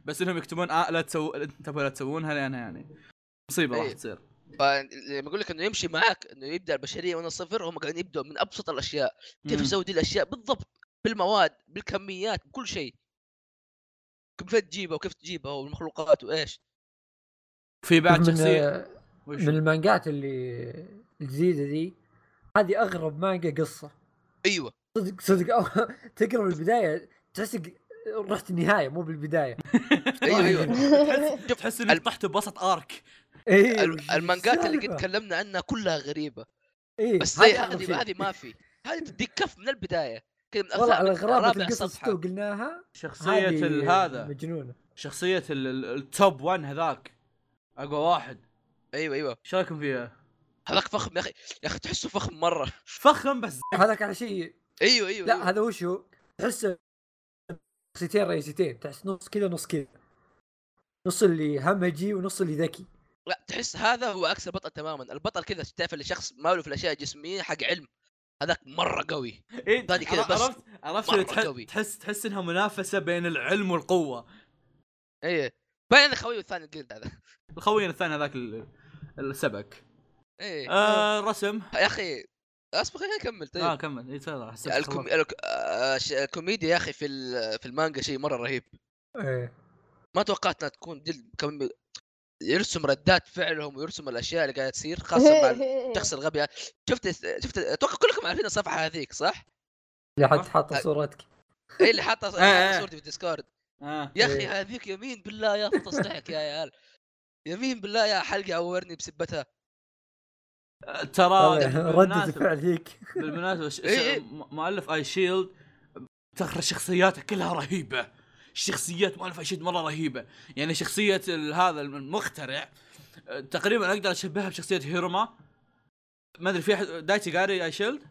بس انهم يكتبون آه لا تسو انتبهوا لا تسوونها لانها يعني مصيبه راح إيه. تصير فلما اقول لك انه يمشي معك انه يبدا البشريه من الصفر هم قاعدين يبدوا من ابسط الاشياء كيف مم. يسوي دي الاشياء بالضبط بالمواد بالكميات بكل شيء كيف تجيبها وكيف تجيبها والمخلوقات وايش في بعد من- آه، شخصيه وش؟ من المانجات اللي الجديده ذي هذه اغرب مانجا قصه ايوه صدق صدق أو- تقرا البدايه تحسك رحت النهايه مو بالبدايه ايوه ايوه تحس- تحس انك الم- طحت بوسط ارك ايه ال- المانجات اللي قد تكلمنا عنها كلها غريبه إيه بس هذا زي أغرب شيء. هذه هذه ما في هذه تديك كف من البدايه كذا من والله أثناء- على من غرابه رابع القصص صفحه تو قلناها شخصيه هذه ال- هذا مجنونه شخصيه ال- ال- التوب 1 هذاك اقوى واحد ايوه ايوه ايش رايكم فيها؟ هذاك فخم يا اخي يا اخي تحسه فخم مره فخم بس هذاك على شيء ايوه ايوه أيوة. لا هذا وش هو؟ تحسه شخصيتين رئيسيتين تحس نص كذا نص كذا نص اللي همجي ونص اللي ذكي لا تحس هذا هو عكس البطل تماما البطل كذا تعرف اللي شخص ما له في الاشياء الجسميه حق علم هذاك مره قوي إيه، ثاني كذا عر- بس عرفت عرفت مرة اللي تح- قوي. تحس تحس انها منافسه بين العلم والقوه ايه باين خوي الثاني الجلد هذا الخوين الثاني هذاك ال- السبك ايه آه الرسم يا اخي اصبر خليني اكمل آه، اه طيب كمل إيه، تفضل، حسيت الكوم... خلاص. الك... آه، ش- الكوميديا يا اخي في ال... في المانجا شيء مره رهيب ايه ما توقعت انها تكون جلد كم... يرسم ردات فعلهم ويرسم الاشياء اللي قاعده تصير خاصه إيه، مع الشخص الغبي هذا. شفت شفت اتوقع كلكم عارفين الصفحه هذيك صح؟ اللي حد حاط صورتك هي اللي حاطه آه، آه. حاطة صورتي في الديسكورد آه. يا اخي إيه. هذيك يمين بالله يا أخي تصلحك يا عيال يمين بالله يا حلقه عورني بسبتها آه، ترى ردة يعني بالمناسبة- طيب، الفعل ذيك بالمناسبه ش... إيه ش... إيه. م- مؤلف اي شيلد تخرج شخصياته كلها رهيبه شخصيات مؤلف اي شيلد مره رهيبه يعني شخصيه ال- هذا المخترع أه، تقريبا اقدر اشبهها بشخصيه هيروما ما ادري في احد دايتي قاري اي شيلد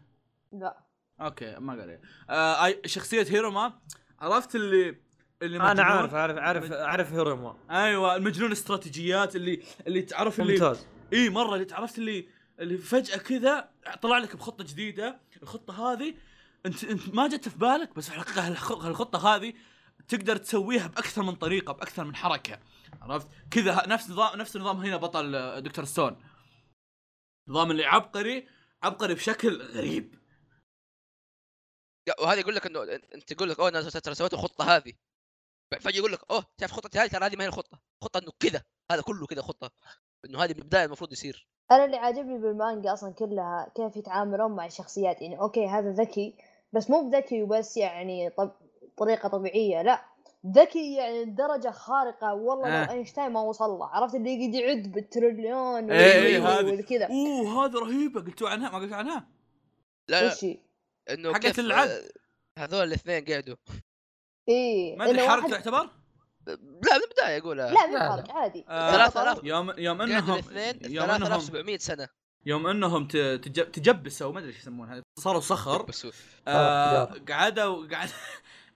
لا اوكي ما قاري آه أي- شخصيه هيروما عرفت اللي اللي انا مجنون؟ عارف عارف عارف اعرف هيروما ايوه المجنون استراتيجيات اللي اللي تعرف اللي ممتاز اي مره إيه، اللي تعرفت اللي اللي فجاه كذا طلع لك بخطه جديده الخطه هذه انت انت ما جت في بالك بس في الحقيقه هالخ- هالخطه هذه تقدر تسويها باكثر من طريقه باكثر من حركه عرفت كذا ه- نفس نظام نفس النظام هنا بطل آه، دكتور ستون نظام اللي عبقري عبقري بشكل غريب لا، وهذا يقول لك انه انت تقول لك اوه انا ترى سويت الخطه هذه بعد فجاه يقول لك اوه شايف خطتي هذه ترى هذه ما هي الخطه خطه انه كذا هذا كله كذا خطه انه هذه من البدايه المفروض يصير انا اللي عاجبني بالمانجا اصلا كلها كيف يتعاملون مع الشخصيات يعني اوكي هذا ذكي بس مو بذكي وبس يعني طب طريقه طبيعيه لا ذكي يعني لدرجه خارقه والله آه. لو اينشتاين ما وصل له عرفت اللي يقعد يعد بالتريليون إيه، إيه، هذه. وكذا اوه هذا رهيبه قلتوا عنها ما قلتوا عنها لا لا ايش هي؟ انه حقت كيف، العد. آه، هذول الاثنين قعدوا ايه ما ادري إنه حركه واحد- تعتبر لا من البدايه يقولها يعني لا مو لا، لا. حركه عادي آه، ثلاثة آلاف. يوم يوم قعدوا انهم الاثنين يوم انهم 3700 سنه يوم انهم ت- تج- تجبسوا ما ادري ايش يسمونها صاروا صخر بس هو- آه، آه، قعدوا قعد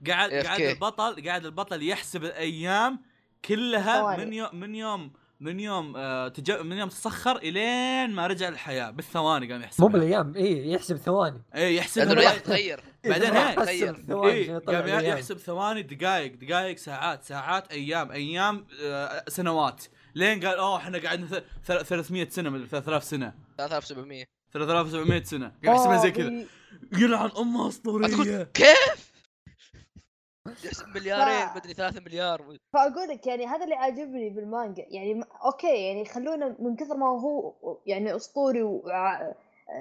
قعد AFK. قعد البطل قعد البطل يحسب الايام كلها ثواني. من يوم من يوم من يوم آه، تج- من يوم تسخر الين ما رجع للحياه بالثواني قام مو يحسب بالايام اي إيه، يحسب ثواني اي يحسب لانه الرياح ثواني. تغير بعدين راح هي- يحسب تغير. الثواني اي عشان يطلع قام الأيام. يحسب ثواني دقائق دقائق ساعات ساعات ايام ايام آه، سنوات لين قال اوه احنا قعدنا ث- ثل- 300 سنه من 3000 سنه 3700 إيه. 3700 سنه قام يحسبها زي كذا فاضي. يلعن امها اسطوريه أدخل- كيف؟ يحسب مليارين مدري 3 مليار فاقول لك يعني هذا اللي عاجبني بالمانجا يعني م- اوكي يعني خلونا من كثر ما هو يعني اسطوري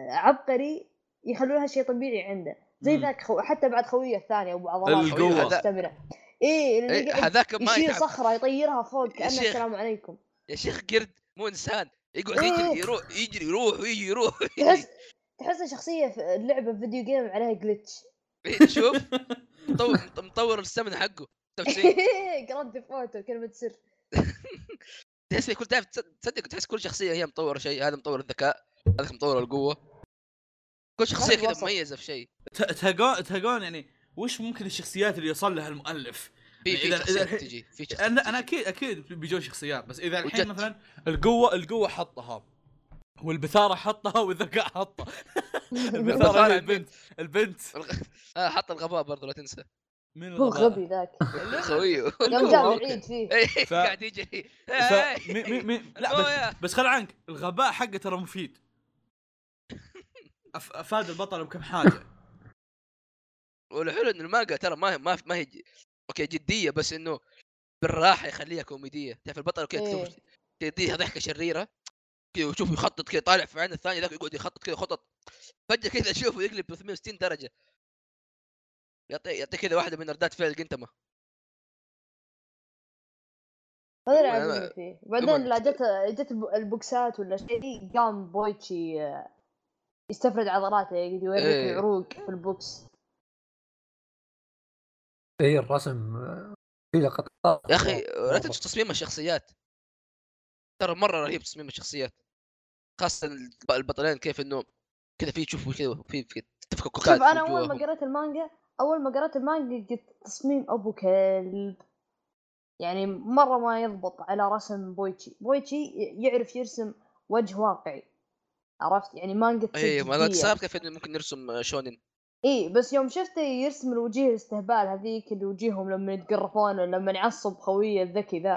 وعبقري يخلونها شيء طبيعي عنده زي مم. ذاك خو... حتى بعد خويه الثانيه ابو عضلات القوة. مستمره اي اللي إيه، يقعد هذاك ما يشيل يتعب صخره يطيرها فوق يا كانه شيخ. السلام عليكم يا شيخ قرد مو انسان يقعد إيه. يجري يروح يجري يروح ويجي يروح تحس تحس شخصيه في اللعبه في فيديو جيم عليها جلتش إيه، شوف مطور مطور السمن حقه تفسير. جراند فوتو كلمه سر تحس كل تعرف تصدق تحس كل شخصيه هي مطور شيء هذا مطور الذكاء هذا مطور القوه كل شخصيه ما في كذا وسط. مميزه في شيء ت- تهقون تهقون يعني وش ممكن الشخصيات اللي يوصل لها المؤلف؟ في إذا- في إذا شخصيات الحين- تجي في شخصيات انا انا تجي. اكيد اكيد بيجون شخصيات بس اذا الحين وجت. مثلا القوه القوه حطها والبثاره حطها والذكاء حطها البثاره هي البنت البنت آه حط الغباء برضه لا تنسى مين هو الغباء؟ غبي ذاك خويه يوم جاب العيد فيه إيه، ف- قاعد يجري ف... إيه، مي مي مي لا بس خويا. بس خل عنك الغباء حقه ترى مفيد أف- افاد البطل بكم حاجه والحلو ان المانجا ترى ما هي ما, ما هي ج- اوكي جديه بس انه بالراحه يخليها كوميديه تعرف البطل كذا إيه. تكتب تديها ضحكه شريره كذا وشوف يخطط كذا طالع في عين الثاني ذاك يقعد يخطط كذا خطط فجاه كذا اشوفه يقلب 360 درجه يعطي يعطي كذا واحده من ردات فعل جنتما هذا اللي عموماً أنا- عاجبني فيه بعدين عموماً لا جت جت الب- البوكسات ولا شيء قام بويتشي آه، يستفرد عضلاته يقعد يوريك إيه. العروق في البوكس اي إيه، الرسم آه، في لقطات إيه، يا اخي لا مرة. تنسى تصميم الشخصيات ترى مره رهيب تصميم الشخصيات خاصه الب- البطلين كيف انه كذا في تشوف كذا في في تفكك شوف انا اول ما قريت المانجا اول ما قريت المانجا قلت تصميم ابو كلب يعني مره ما يضبط على رسم بويتشي بويتشي ي- يعرف يرسم وجه واقعي عرفت يعني مانجا اي إيه، ما قد صار كيف انه ممكن نرسم شونن اي بس يوم شفته يرسم الوجيه الاستهبال هذيك اللي وجيههم لما يتقرفون ولا لما يعصب خويه الذكي ذا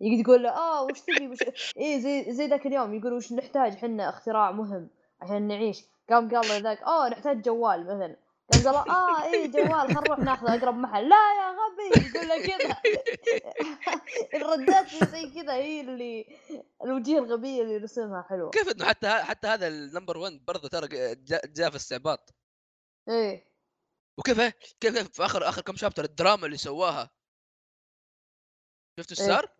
يقعد يقول له اه وش تبي وش اي زي زي ذاك اليوم يقول وش نحتاج حنا اختراع مهم عشان نعيش قام قال له ذاك اه نحتاج جوال مثلا قام قال له اه اي جوال خل نروح ناخذ اقرب محل لا يا غبي يقول له كذا الردات اللي زي كذا هي اللي الوجيه الغبيه اللي يرسمها حلوه كيف انه حتى ه- حتى هذا النمبر 1 برضه ترى جاء جا في استعباط ايه وكيف إيه؟ كيف كيف في اخر اخر كم شابتر الدراما اللي سواها شفت ايش إيه. صار؟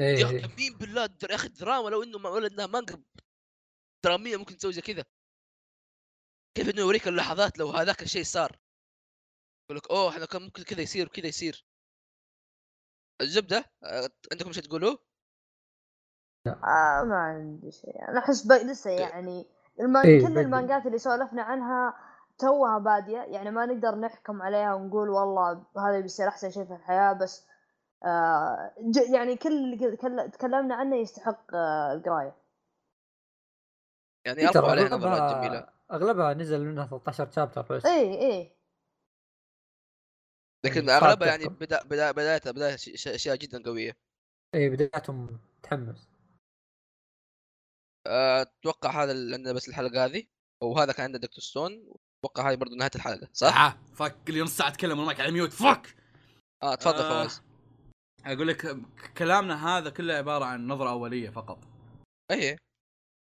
إيه. يا أخي، يمين بالله در- يا اخي دراما لو انه ما ولا انها مانجا دراميه ممكن تسوي زي كذا كيف انه يوريك اللحظات لو هذاك الشيء صار يقول لك اوه احنا كان ممكن كذا يصير وكذا يصير الزبده آه، عندكم شيء تقولوه؟ آه ما عندي شيء انا احس ب- لسه يعني المان... إيه، كل بدري. المانجات اللي سولفنا عنها توها باديه يعني ما نقدر نحكم عليها ونقول والله هذا بيصير احسن شيء في الحياه بس آه ج- يعني كل اللي كل- تكلمنا عنه يستحق آه القرايه إيه، يعني اربوا علينا مرات جميله اغلبها نزل منها 13 شابتر بس اي اي لكن صعب اغلبها يعني تحكم. بدا بدا بدايتها بدايه ش- ش- اشياء جدا قويه اي إيه، بدايتهم متحمس آه، اتوقع هذا اللي عندنا بس الحلقه هذه وهذا كان عندنا دكتور ستون اتوقع هاي برضو نهايه الحلقه صح؟ آه، فك اللي نص ساعه اتكلم وانا معك على ميوت فك اه تفضل آه. فواز اقول لك ك- كلامنا هذا كله عباره عن نظره اوليه فقط اي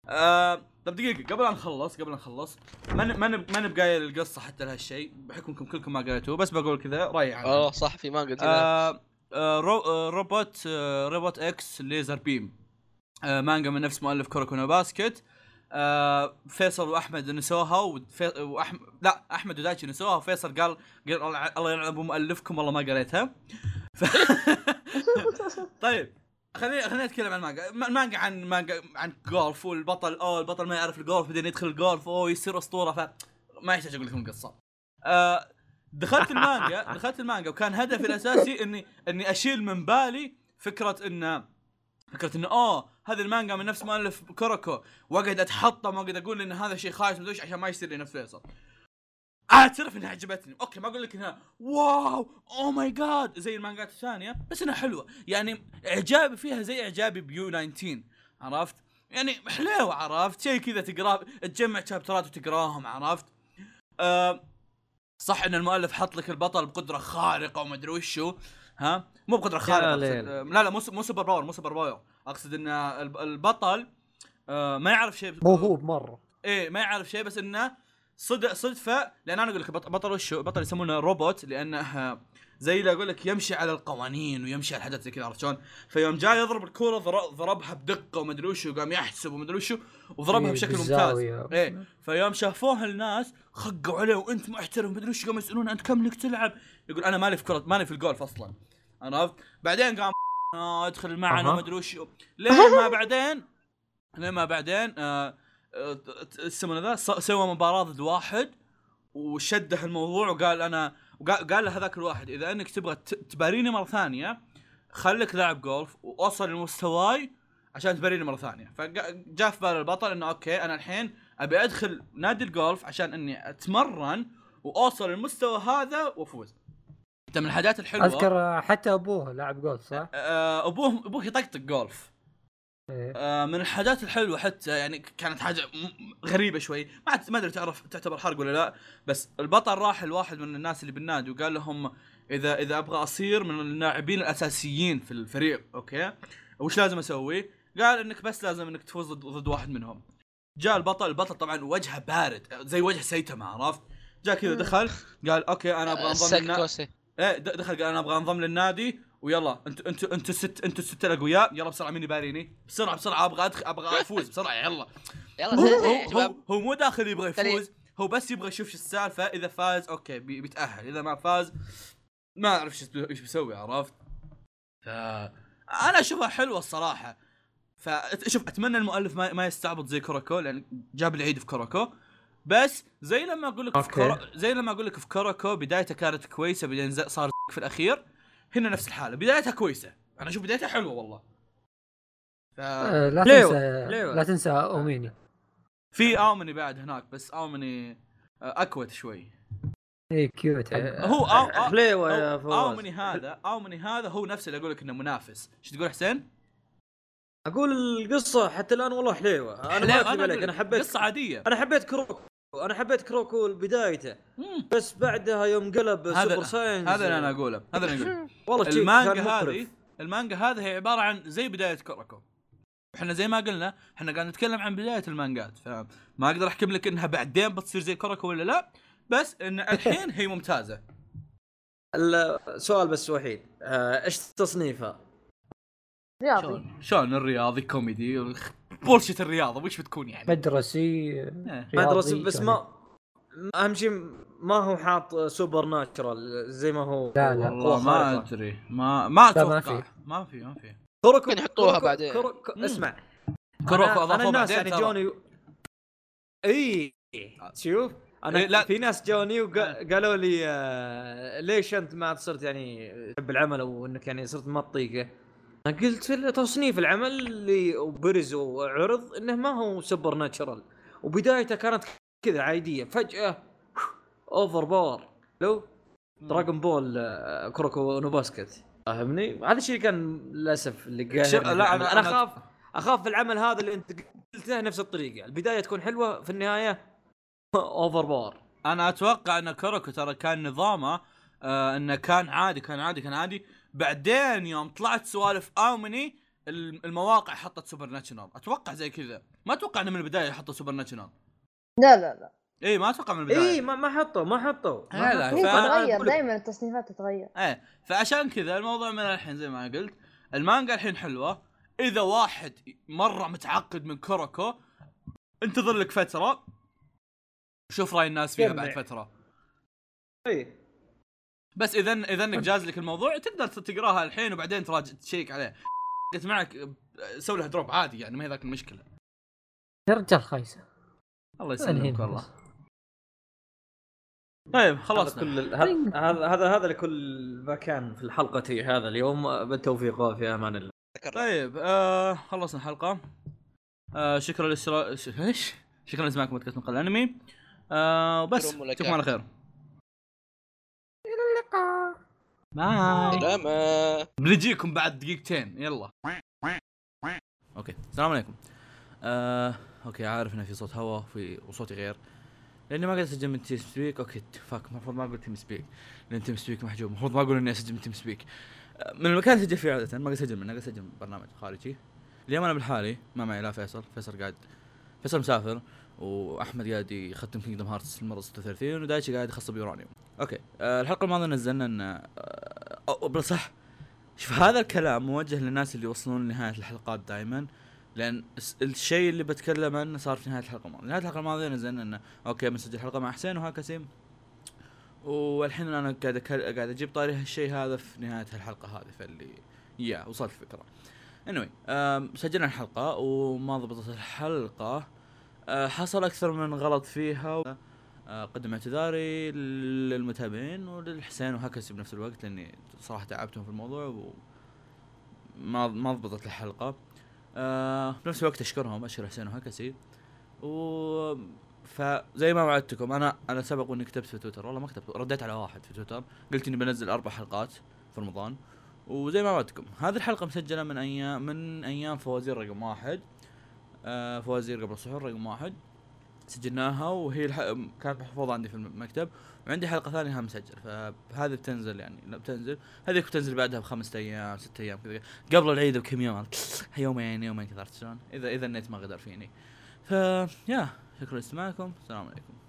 آه، طب دقيقة قبل أن نخلص قبل أن نخلص ما ن- ما نب- ما نبقى قايل القصة حتى لهالشيء بحكمكم كلكم ما قريتوه بس بقول كذا رأيي عنه اه صح في مانجا قلت آه، آه، رو آه، روبوت آه، روبوت اكس ليزر بيم آه، مانجا من نفس مؤلف كوروكونو باسكت آه، فيصل واحمد نسوها وفي... وأحم... لا احمد ودايتشي نسوها وفيصل قال, قال الله- الله يلعن ابو مؤلفكم والله ما قريتها ف... طيب خليني خليني اتكلم عن المانجا، الم- المانجا عن مانجا عن جولف والبطل اوه البطل ما يعرف الجولف بعدين يدخل الجولف اوه يصير اسطوره ف ما يحتاج اقول لكم القصه. آه، دخلت المانجا دخلت المانجا وكان هدفي الاساسي اني اني اشيل من بالي فكره ان فكره انه اوه آه، هذه المانجا من نفس مؤلف كوركو واقعد اتحطم واقعد اقول ان هذا شيء خايس مدري إيش عشان ما يصير لي نفس فيصل اعترف انها عجبتني اوكي ما اقول لك انها واو او ماي جاد زي المانجات الثانيه بس انها حلوه يعني اعجابي فيها زي اعجابي بيو 19 عرفت يعني حلوه عرفت شيء كذا تقراه تجمع شابترات وتقراهم عرفت أه صح ان المؤلف حط لك البطل بقدره خارقه وما ادري وشو ها مو بقدره خارقه أقصد- ليل. آه، لا لا مو س- مو سوبر باور مو سوبر باور اقصد ان الب- البطل آه، ما يعرف شيء موهوب مره ايه ما يعرف شيء بس انه صدق صدفه لان انا اقول لك بط- بطل وشو بطل يسمونه روبوت لانه زي اللي اقول لك يمشي على القوانين ويمشي على الحاجات زي كذا عرفت شلون؟ فيوم جاي يضرب الكوره ضر- ضربها بدقه ومدري وشو وقام يحسب ومدري وشو وضربها إيه، بشكل ممتاز بالزاوية. ايه فيوم شافوه الناس خقوا عليه وانت محترف مدري وش قاموا يسالونه انت كم لك تلعب؟ يقول انا مالي في كره مالي في الجولف اصلا عرفت؟ بعدين قام آه، ادخل معنا أها. مدري وش لين ما بعدين لين ما بعدين آه، آه، ت- يسمونه ذا س- سوى مباراه ضد واحد وشده الموضوع وقال انا وقال قال لهذاك الواحد اذا انك تبغى ت- تباريني مره ثانيه خليك لاعب جولف واوصل لمستواي عشان تباريني مره ثانيه فجاء في بال البطل انه اوكي انا الحين ابي ادخل نادي الجولف عشان اني اتمرن واوصل للمستوى هذا وافوز انت من الحاجات الحلوه اذكر آه، حتى ابوه لاعب جولف صح؟ آه، ابوه ابوه يطقطق جولف إيه. آه، من الحاجات الحلوه حتى يعني كانت حاجه م- م- غريبه شوي ما أعت- ما ادري تعرف تعتبر حرق ولا لا بس البطل راح لواحد من الناس اللي بالنادي وقال لهم اذا اذا ابغى اصير من اللاعبين الاساسيين في الفريق اوكي وش لازم اسوي؟ قال انك بس لازم انك تفوز ضد- ضد واحد منهم جاء البطل البطل طبعا وجهه بارد زي وجه سيتما عرفت؟ جاء كذا مم. دخل قال اوكي انا ابغى انضم للنا- كوسي ايه د- دخل قال انا ابغى انضم للنادي ويلا انتوا انتوا انتوا الست انتوا الست الاقوياء يلا بسرعه مين يباريني بسرعه بسرعه ابغى أدخل ابغى افوز بسرعه يلا يلا هو سريع يا هو, شباب هو, هو مو داخل يبغى سريع. يفوز هو بس يبغى يشوف شو السالفه اذا فاز اوكي بي- بيتاهل اذا ما فاز ما اعرف شو بي- ايش بيسوي عرفت ف انا اشوفها حلوه الصراحه فشوف اتمنى المؤلف ما, ما يستعبط زي كوراكو لان جاب العيد في كوراكو بس زي لما اقول لك في أوكي. كورا... زي لما اقول لك في كوراكو بدايته كانت كويسه بعدين ز- صار في الاخير هنا نفس الحاله بدايتها كويسه انا اشوف بدايتها حلوه والله ف... آه، لا ليوة، تنسى ليوة. لا تنسى اوميني في اومني بعد هناك بس اومني آه، اكوت شوي اي إيه، كيوت آه، حقه. هو أو أو حليوه يا أو فواز اومني هذا اومني هذا هو نفسه اللي اقول لك انه منافس ايش تقول حسين؟ اقول القصه حتى الان والله حليوه انا ما اكذب عليك أقول انا حبيت قصه عاديه انا حبيت كروكو انا حبيت كروكو بدايته مم. بس بعدها يوم قلب هذا- سوبر ساينز هذا اللي انا اقوله هذا اللي انا اقوله والله شيء المانجا كان مقرف. هذه المانجا هذه هي عباره عن زي بدايه كوراكو احنا زي ما قلنا احنا قاعد نتكلم عن بدايه المانجات فما اقدر احكم لك انها بعدين بتصير زي كوراكو ولا لا بس ان الحين هي ممتازه ال- سؤال بس وحيد آه، ايش تصنيفها؟ رياضي طيب. شلون شلون الرياضي كوميدي بولشت الرياضه وش بتكون يعني؟ مدرسي إيه. ما رياضي درس بس شلون؟ ما يعني. ما- اهم شيء ما هو حاط سوبر ناتشرال زي ما هو لا، لا. والله قوة ما خارقة. ادري ما ما لا، طيب، ما اتوقع في. ما في ما في كروكو ممكن يحطوها كروكو- بعدين. كروكو- مم. اسمع كروكو أنا- اضافوه انا الناس بعدين يعني ترى. جوني اي شوف انا إيه، لا. لا. في ناس جوني وقالوا لي آه، ليش انت ما عاد صرت يعني تحب العمل او انك يعني صرت ما تطيقه انا قلت في تصنيف العمل اللي وبرز وعرض انه ما هو سوبر ناتشرال وبدايته كانت كذا عاديه فجاه اوفر باور لو دراغون بول آه، كروكو نو باسكت فاهمني؟ هذا الشيء كان للاسف اللي قاهرني شوف، في لا العمل. انا انا اخاف اخاف في العمل هذا اللي انت قلته نفس الطريقه البدايه تكون حلوه في النهايه اوفر باور انا اتوقع ان كروكو ترى كان نظامه آه انه كان عادي كان عادي كان عادي بعدين يوم طلعت سوالف امني الم- المواقع حطت سوبر ناتشنال اتوقع زي كذا ما اتوقع انه من البدايه حطوا سوبر ناتشنال لا لا لا اي ما اتوقع من البدايه اي ما ما حطوا ما حطوا إيه، ما لا، لا، حطوا. هي فأنا- تتغير أقول لك، دائما التصنيفات تتغير ايه فعشان كذا الموضوع من الحين زي ما أنا قلت المانجا الحين حلوه اذا واحد مره متعقد من كوروكو انتظر لك فتره شوف راي الناس فيها بعد يرجع. فتره إي. بس اذا اذا انك جاز لك الموضوع تقدر تقراها الحين وبعدين تراجع تشيك عليه قلت معك آه، سوي لها دروب عادي يعني ما هي ذاك المشكله يا رجال خايسه الله ألهينا يسلمك بس. إيه، والله طيب هذا خلصنا كل ال- هذا- هذا هذا هذا لكل مكان في الحلقه هذا اليوم بالتوفيق وفي امان الله تكرر طيب آه خلصنا الحلقة آه شكرا للسرا... ش- ايش؟ شكرا لسماعكم بودكاست نقل الانمي آه وبس شكراً لك. نشوفكم على خير الى اللقاء باي سلامة بنجيكم بعد دقيقتين يلا اوكي السلام عليكم آه اوكي عارف انه في صوت هواء في وصوتي غير لاني ما قدرت اسجل من تيم سبيك اوكي فاك المفروض ما اقول تيم سبيك لان تيم سبيك محجوب المفروض ما اقول اني اسجل من تيم سبيك آه، من المكان اللي اسجل فيه عاده ما قد اسجل منه قد اسجل من برنامج خارجي اليوم انا بالحالي ما معي لا فيصل فيصل قاعد فيصل مسافر واحمد قاعد يختم كينجدم هارتس المره 36 ودايتشي قاعد يخصب يورانيوم اوكي آه الحلقه الماضيه نزلنا ان آه أو بل صح شوف هذا الكلام موجه للناس اللي يوصلون لنهايه الحلقات دائما لان الس- الشيء اللي بتكلم عنه صار في نهايه الحلقه الماضيه، نهايه الحلقه الماضيه نزلنا انه اوكي بنسجل حلقه مع حسين وهكذا والحين انا قاعد أكل... قاعد اجيب طاري هالشيء هذا في نهايه الحلقه هذه فاللي يا وصلت الفكره. anyway أم، سجلنا الحلقه وما ضبطت الحلقه أه، حصل اكثر من غلط فيها و... أه، قدم اعتذاري للمتابعين وللحسين وهكذا بنفس الوقت لاني صراحه تعبتهم في الموضوع و ما ما ضبطت الحلقه أه، بنفس الوقت اشكرهم اشكر حسين وهكسي و فزي ما وعدتكم انا انا سبق واني كتبت في تويتر والله ما كتبت رديت على واحد في تويتر قلت اني بنزل اربع حلقات في رمضان وزي ما وعدتكم هذه الحلقه مسجله من ايام من ايام فوازير رقم واحد آه فوازير قبل السحور رقم واحد سجلناها وهي الح... كانت محفوظه عندي في المكتب وعندي حلقه ثانيه هم مسجل فهذه بتنزل يعني لا بتنزل هذه بتنزل بعدها بخمسة ايام ستة ايام كذا قبل العيد بكم يوم يومين يومين كذا عرفت شلون؟ اذا اذا النت ما غدر فيني. ف يا شكرا لاستماعكم السلام عليكم.